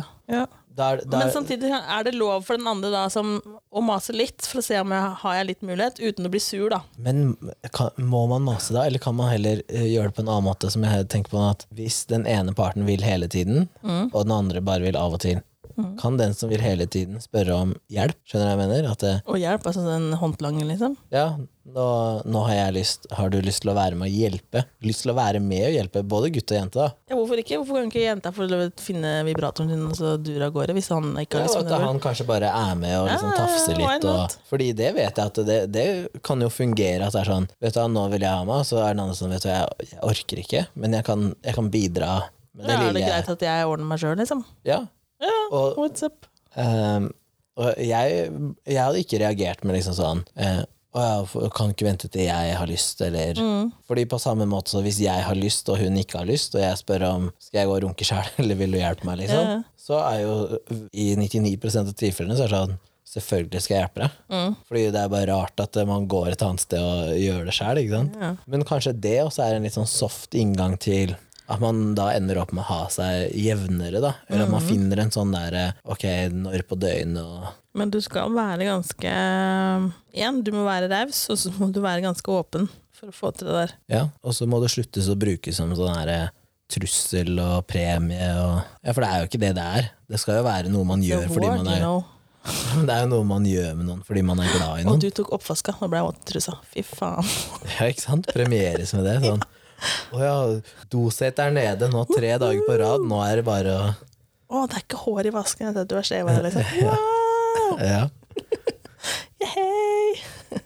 da, er- da
Men samtidig er det lov for den andre da som, å mase litt, for å se om jeg har jeg litt mulighet, uten å bli sur, da.
Men kan, må man mase da, eller kan man heller eh, gjøre det på en annen måte? Som jeg tenker på at Hvis den ene parten vil hele tiden, og den andre bare vil av og til, kan den som vil hele tiden, spørre om hjelp? Skjønner du hva jeg mener? At eh,
Og hjelp, altså den håndlangen, liksom.
ja, nå, nå har jeg lyst Har du lyst til å være med og hjelpe? Lyst til å være med og hjelpe, både gutt og jente, da.
Ja, hvorfor ikke? Hvorfor kan ikke jenta få lov til å finne vibratoren sin og så dure av gårde, hvis han ikke
Ja,
har
og
lyst på
at
det?
han kanskje bare er med og liksom
Ja,
tafser
why
litt. Og,
not?
fordi det vet jeg at det, det kan jo fungere at det er sånn Vet du hva, nå vil jeg ha meg, og så er den andre sånn Vet du hva, jeg, jeg orker ikke, men jeg kan, jeg kan bidra. Med
Ja,
det
er det
lille jeg
greit at jeg ordner meg sjøl, liksom?
Ja.
Ja,
Og,
what's up?
ehm, og jeg, jeg hadde ikke reagert med liksom sånn eh, Å ja, for- kan ikke vente til jeg har lyst, eller
Mm.
Fordi på samme måte så hvis jeg har lyst, og hun ikke har lyst, og jeg spør om skal jeg gå og runke sjæl, (laughs) eller vil du hjelpe meg, liksom,
Ja.
så er jo i 99 av tilfellene så er det sånn Selvfølgelig skal jeg hjelpe deg.
Mm.
Fordi det er bare rart at eh, man går et annet sted og gjør det sjæl.
Ja.
Men kanskje det også er en litt sånn soft inngang til at man da ender opp med å ha seg jevnere, da. Eller at man
Mm.
finner en sånn derre ok, når på døgnet og
Men du skal være ganske Igjen, du må være raus, og så må du være ganske åpen for å få til det der.
Ja. Og så må det sluttes å brukes som sånn derre trussel og premie og Ja, for det er jo ikke det det er. Det skal jo være noe man gjør
The
fordi
word,
man
you
er
know.
(laughs) Det er jo noe man gjør med noen fordi man er glad i
Og
noen.
du tok oppvaska, nå ble jeg våt i trusa. Fy faen.
Ja, ikke sant? Premieres med det. Sånn. Å ja, doset er nede nå tre dager på rad, nå er det bare å
Å, det er ikke hår i vasken etter at du har
(laughs)
shava deg, liksom. Wow!
Ja.
Yay!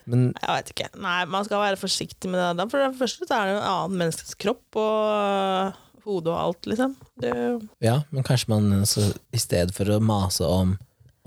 Men
Jeg veit ikke. Nei, man skal være forsiktig med det. Da. For det første så er det jo en annen menneskes kropp og hode og alt, liksom. Det,
Ja, men kanskje man så, i stedet for å mase om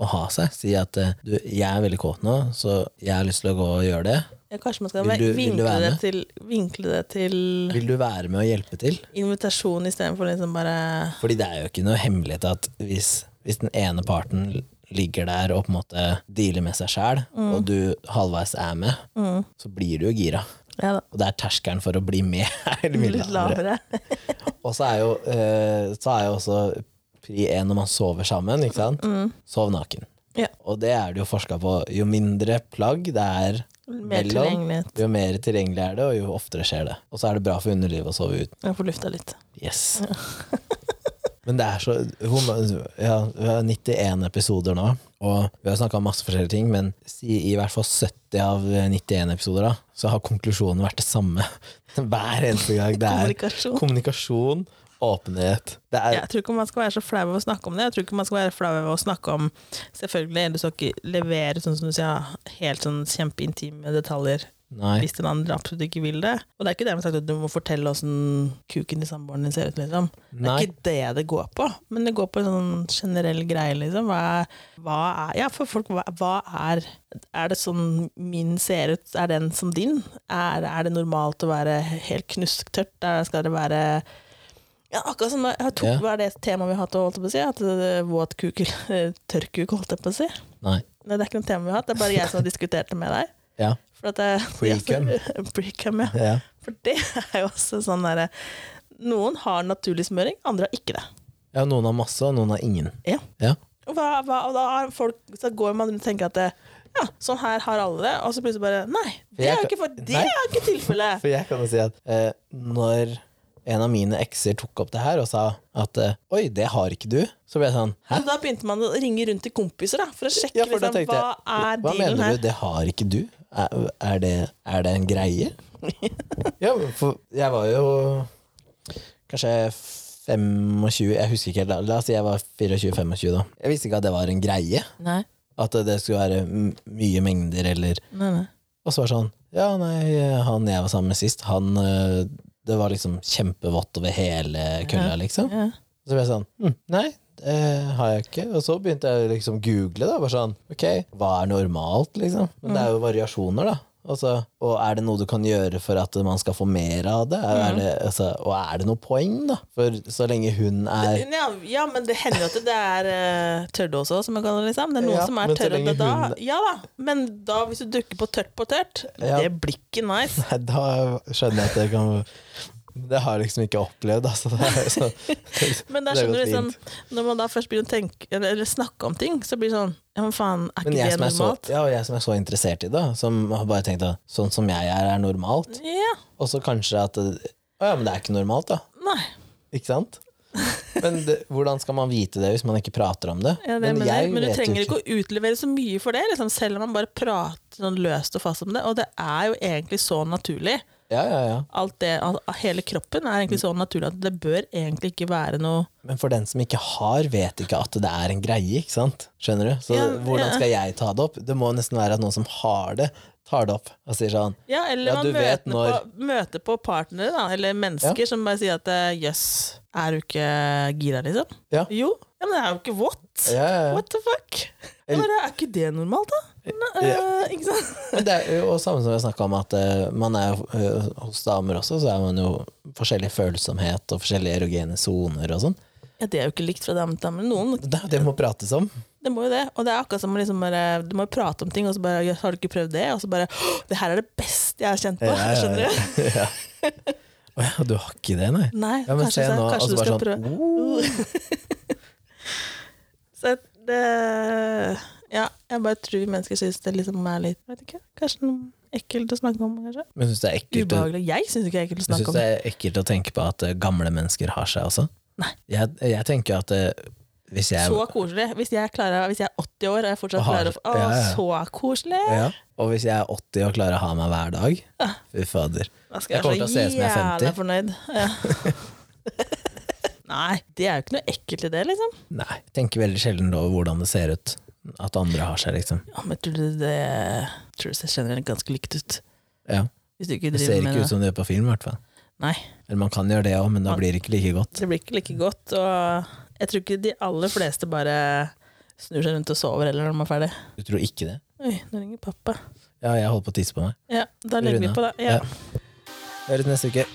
å ha seg, si at eh, du, jeg er veldig kåt nå, så jeg har lyst til å gå og gjøre det.
ja, kanskje man skal
Vil du- vil du
vinkle,
være
det
med?
til, vinkle det til
Vil du være med og hjelpe til?
invitasjon istedenfor liksom bare
Fordi det er jo ikke noe hemmelighet at hvis, hvis den ene parten ligger der og på en måte dealer med seg sjæl, og du halvveis er med, så blir du jo gira.
Ja da.
Og det er terskelen for å bli med (laughs) er mye
Litt
lavere.
lavere. (laughs)
Og så er jo, eh, så er jo også pri én når man sover sammen, ikke sant? Sov naken.
Mm. Ja.
Og det er det jo forska på. Jo mindre plagg det er
Mer
mellom,
tilgjengelighet.
jo mer tilgjengelig er det, og jo oftere skjer det. Og så er det bra for underlivet å sove ut.
Jeg får lufta litt.
Yes.
(laughs)
Men det er så hun, ja, Vi har 91 episoder nå, og vi har snakka om masse forskjellige ting, men si i hvert fall 70 av 91 episoder, da, så har konklusjonen vært det samme (laughs) hver eneste gang. Det er
Kommunikasjon.
(laughs) kommunikasjon, åpenhet. Det er
Jeg tror ikke man skal være så flau over å snakke om det. Jeg tror ikke man skal være flau over å snakke om Selvfølgelig, du skal ikke levere sånn som du sier, helt sånn kjempeintime detaljer
Nei.
hvis den andre absolutt ikke vil det. Og det er ikke dermed sagt at du må fortelle åssen kuken til samboeren din ser ut, liksom. Det
Nei.
er ikke det det går på, men det går på en sånn generell greie, liksom. Hva er, hva er Ja, for folk, hva, hva er Er det sånn min ser ut, er den som din? Er, er det normalt å være helt knusktørt? Er, skal det være ja, akkurat som jeg tok,
Ja.
Hva er det temaet vi har hatt, holdt jeg på å si? At eh, våt kuk eller tørr kuk, holdt jeg på å si.
Nei.
Nei, det er ikke noe tema vi har hatt, det er bare jeg som har diskutert det med deg.
Ja.
For at eh, (laughs) jeg,
Precum.
(laughs) Precum, ja.
ja.
For det er jo også sånn derre Noen har naturlig smøring, andre har ikke det.
ja noen har masse, og noen har ingen.
Ja.
Ja.
Og, hva, hva, og da er folk, så går man rundt og tenker at det, ja, sånn her har alle det, og så plutselig bare Nei, det er jo
jeg
ikke,
kan-
for- det
nei.
er jo ikke tilfellet!
For jeg kan jo si at eh, når en av mine ekser tok opp det her og sa at eh, oi, det har ikke du, så ble jeg sånn hæ?
Så da begynte man å ringe rundt til kompiser da, for å sjekke
Ja, for da
liksom,
tenkte
hva
jeg,
er
hva
dealen
mener
her.
du, det har ikke du? Er, er, det, er det en greie?
(laughs)
ja, for jeg var jo kanskje 25, jeg husker ikke helt, da. la oss si jeg var 24-25 da. Jeg visste ikke at det var en greie,
Nei,
at det skulle være m- mye mengder eller
nei, nei.
Og så var det sånn Ja, nei, han jeg var sammen med sist, han øh, Det var liksom kjempevått over hele kølla, liksom.
Ja.
Så ble jeg sånn hm, Nei, det har jeg ikke. Og så
Mm.
begynte jeg liksom å google, da. Bare sånn Ok, hva er normalt, liksom? Men det er jo variasjoner, da. Altså, og er det noe du kan gjøre for at man skal få mer av det? Er,
Mm.
er det altså, og er det noe poeng, da? For så lenge hun er
Ja, ja, men det hender jo at det er eh, tørre også, som jeg kaller det. Liksom. Det er noen
Ja,
som er
men så
tørre.
lenge
og Da,
hun-
ja da, men da, hvis du dukker på tørt på tørt,
Ja.
det blir ikke nice.
(laughs) Nei, da skjønner jeg at det kan Det har jeg liksom ikke opplevd, altså. Det er, så,
(laughs) Men da
det har
skjønner du
gått
liksom,
fint.
når man da først begynner å tenke, eller, eller snakke om ting, så blir det sånn Ja, men faen, er
Men
ikke
jeg
det
som, er så,
normalt?
ja, og jeg som er så interessert i det, som har bare tenkt at sånn som jeg er, er normalt.
Ja.
Og så kanskje at det- Å ja, men det er ikke normalt, da.
Nei.
Ikke sant? Men det, hvordan skal man vite det hvis man ikke prater om det?
Ja, det men,
jeg
men du
vet jo
trenger ikke å utlevere så mye for det, liksom, selv om man bare prater sånn løst og fast om det. Og det er jo egentlig så naturlig.
Ja, ja, ja.
Alt det, al- hele kroppen er egentlig så
Mm.
naturlig at det bør egentlig ikke være noe
Men for den som ikke har, vet ikke at det er en greie, ikke sant? Skjønner du? Så
Ja,
hvordan
ja.
skal jeg ta det opp? Det må nesten være at noen som har det, tar det opp og sier sånn
Ja, eller
Ja,
man
du vet
møter,
når-
på, møter på partnere, da, eller mennesker som bare sier at eh, jøss, er du ikke gira, liksom?
Ja.
Jo. Ja, men det er jo ikke what?
ja, ja, ja.
What the fuck? Ja, men er ikke det normalt, da? Nei, eh, ikke sant?
Men det er jo og samme som vi snakka om, at eh, man er jo, eh, hos damer også, så er man jo forskjellig følsomhet og forskjellige erogene soner og sånn.
Ja, det er jo ikke likt fra dame til dame. Noen
Det er jo det må prates om.
Det må jo det. Og det er akkurat som å liksom bare, du må jo prate om ting, og så bare «Jøss, har du ikke prøvd det? Og så bare «Åh, Det her er det beste jeg har kjent på! Skjønner
(laughs)
du?
Ja. Å ja, du har ikke det, nei?
Nei,
Ja, men
kanskje,
se
så-
nå,
kanskje
og
du
så
skal
bare
prøve.
sånn oh.
Så det, ja, jeg bare tror mennesker syns det liksom er litt vet ikke, Kanskje noe ekkelt å snakke om, kanskje?
Men syns det er ekkelt å
Ubehagelig. Jeg syns ikke det er ekkelt å
Jeg
snakke
syns
om.
det er ekkelt å tenke på at eh, gamle mennesker har seg også.
Nei.
Jeg, jeg tenker jo at eh, hvis jeg
Så koselig. Hvis jeg, klarer, hvis jeg er 80 år og jeg fortsatt
Og har-
klarer å få Å,
ja, ja.
så koselig!
ja, Og hvis jeg er 80 og klarer å ha meg hver dag Fy fader.
Da skal
Jeg kommer til
jeg
å
så
se ut som jeg er
jævla
50.
fornøyd. Ja.
(laughs)
(laughs) Nei, det er jo ikke noe ekkelt i det, liksom.
Nei. jeg Tenker veldig sjelden over hvordan det ser ut at andre har seg, liksom.
Ja, men tror du det Tror du det ser generelt ganske likt ut?
Ja.
Hvis du ikke
Det
driver
ser
med
ikke ut som det gjør på film, i hvert fall.
Nei.
Eller man kan gjøre det òg, men da blir det ikke like godt.
Det blir ikke like godt, og jeg tror ikke de aller fleste bare snur seg rundt og sover heller når de er ferdig.
Du tror ikke det?
Oi, nå ringer pappa.
Ja, jeg holdt på å tisse på meg.
Ja, da legger vi
Rune.
på, da. Ja.
Høres neste uke.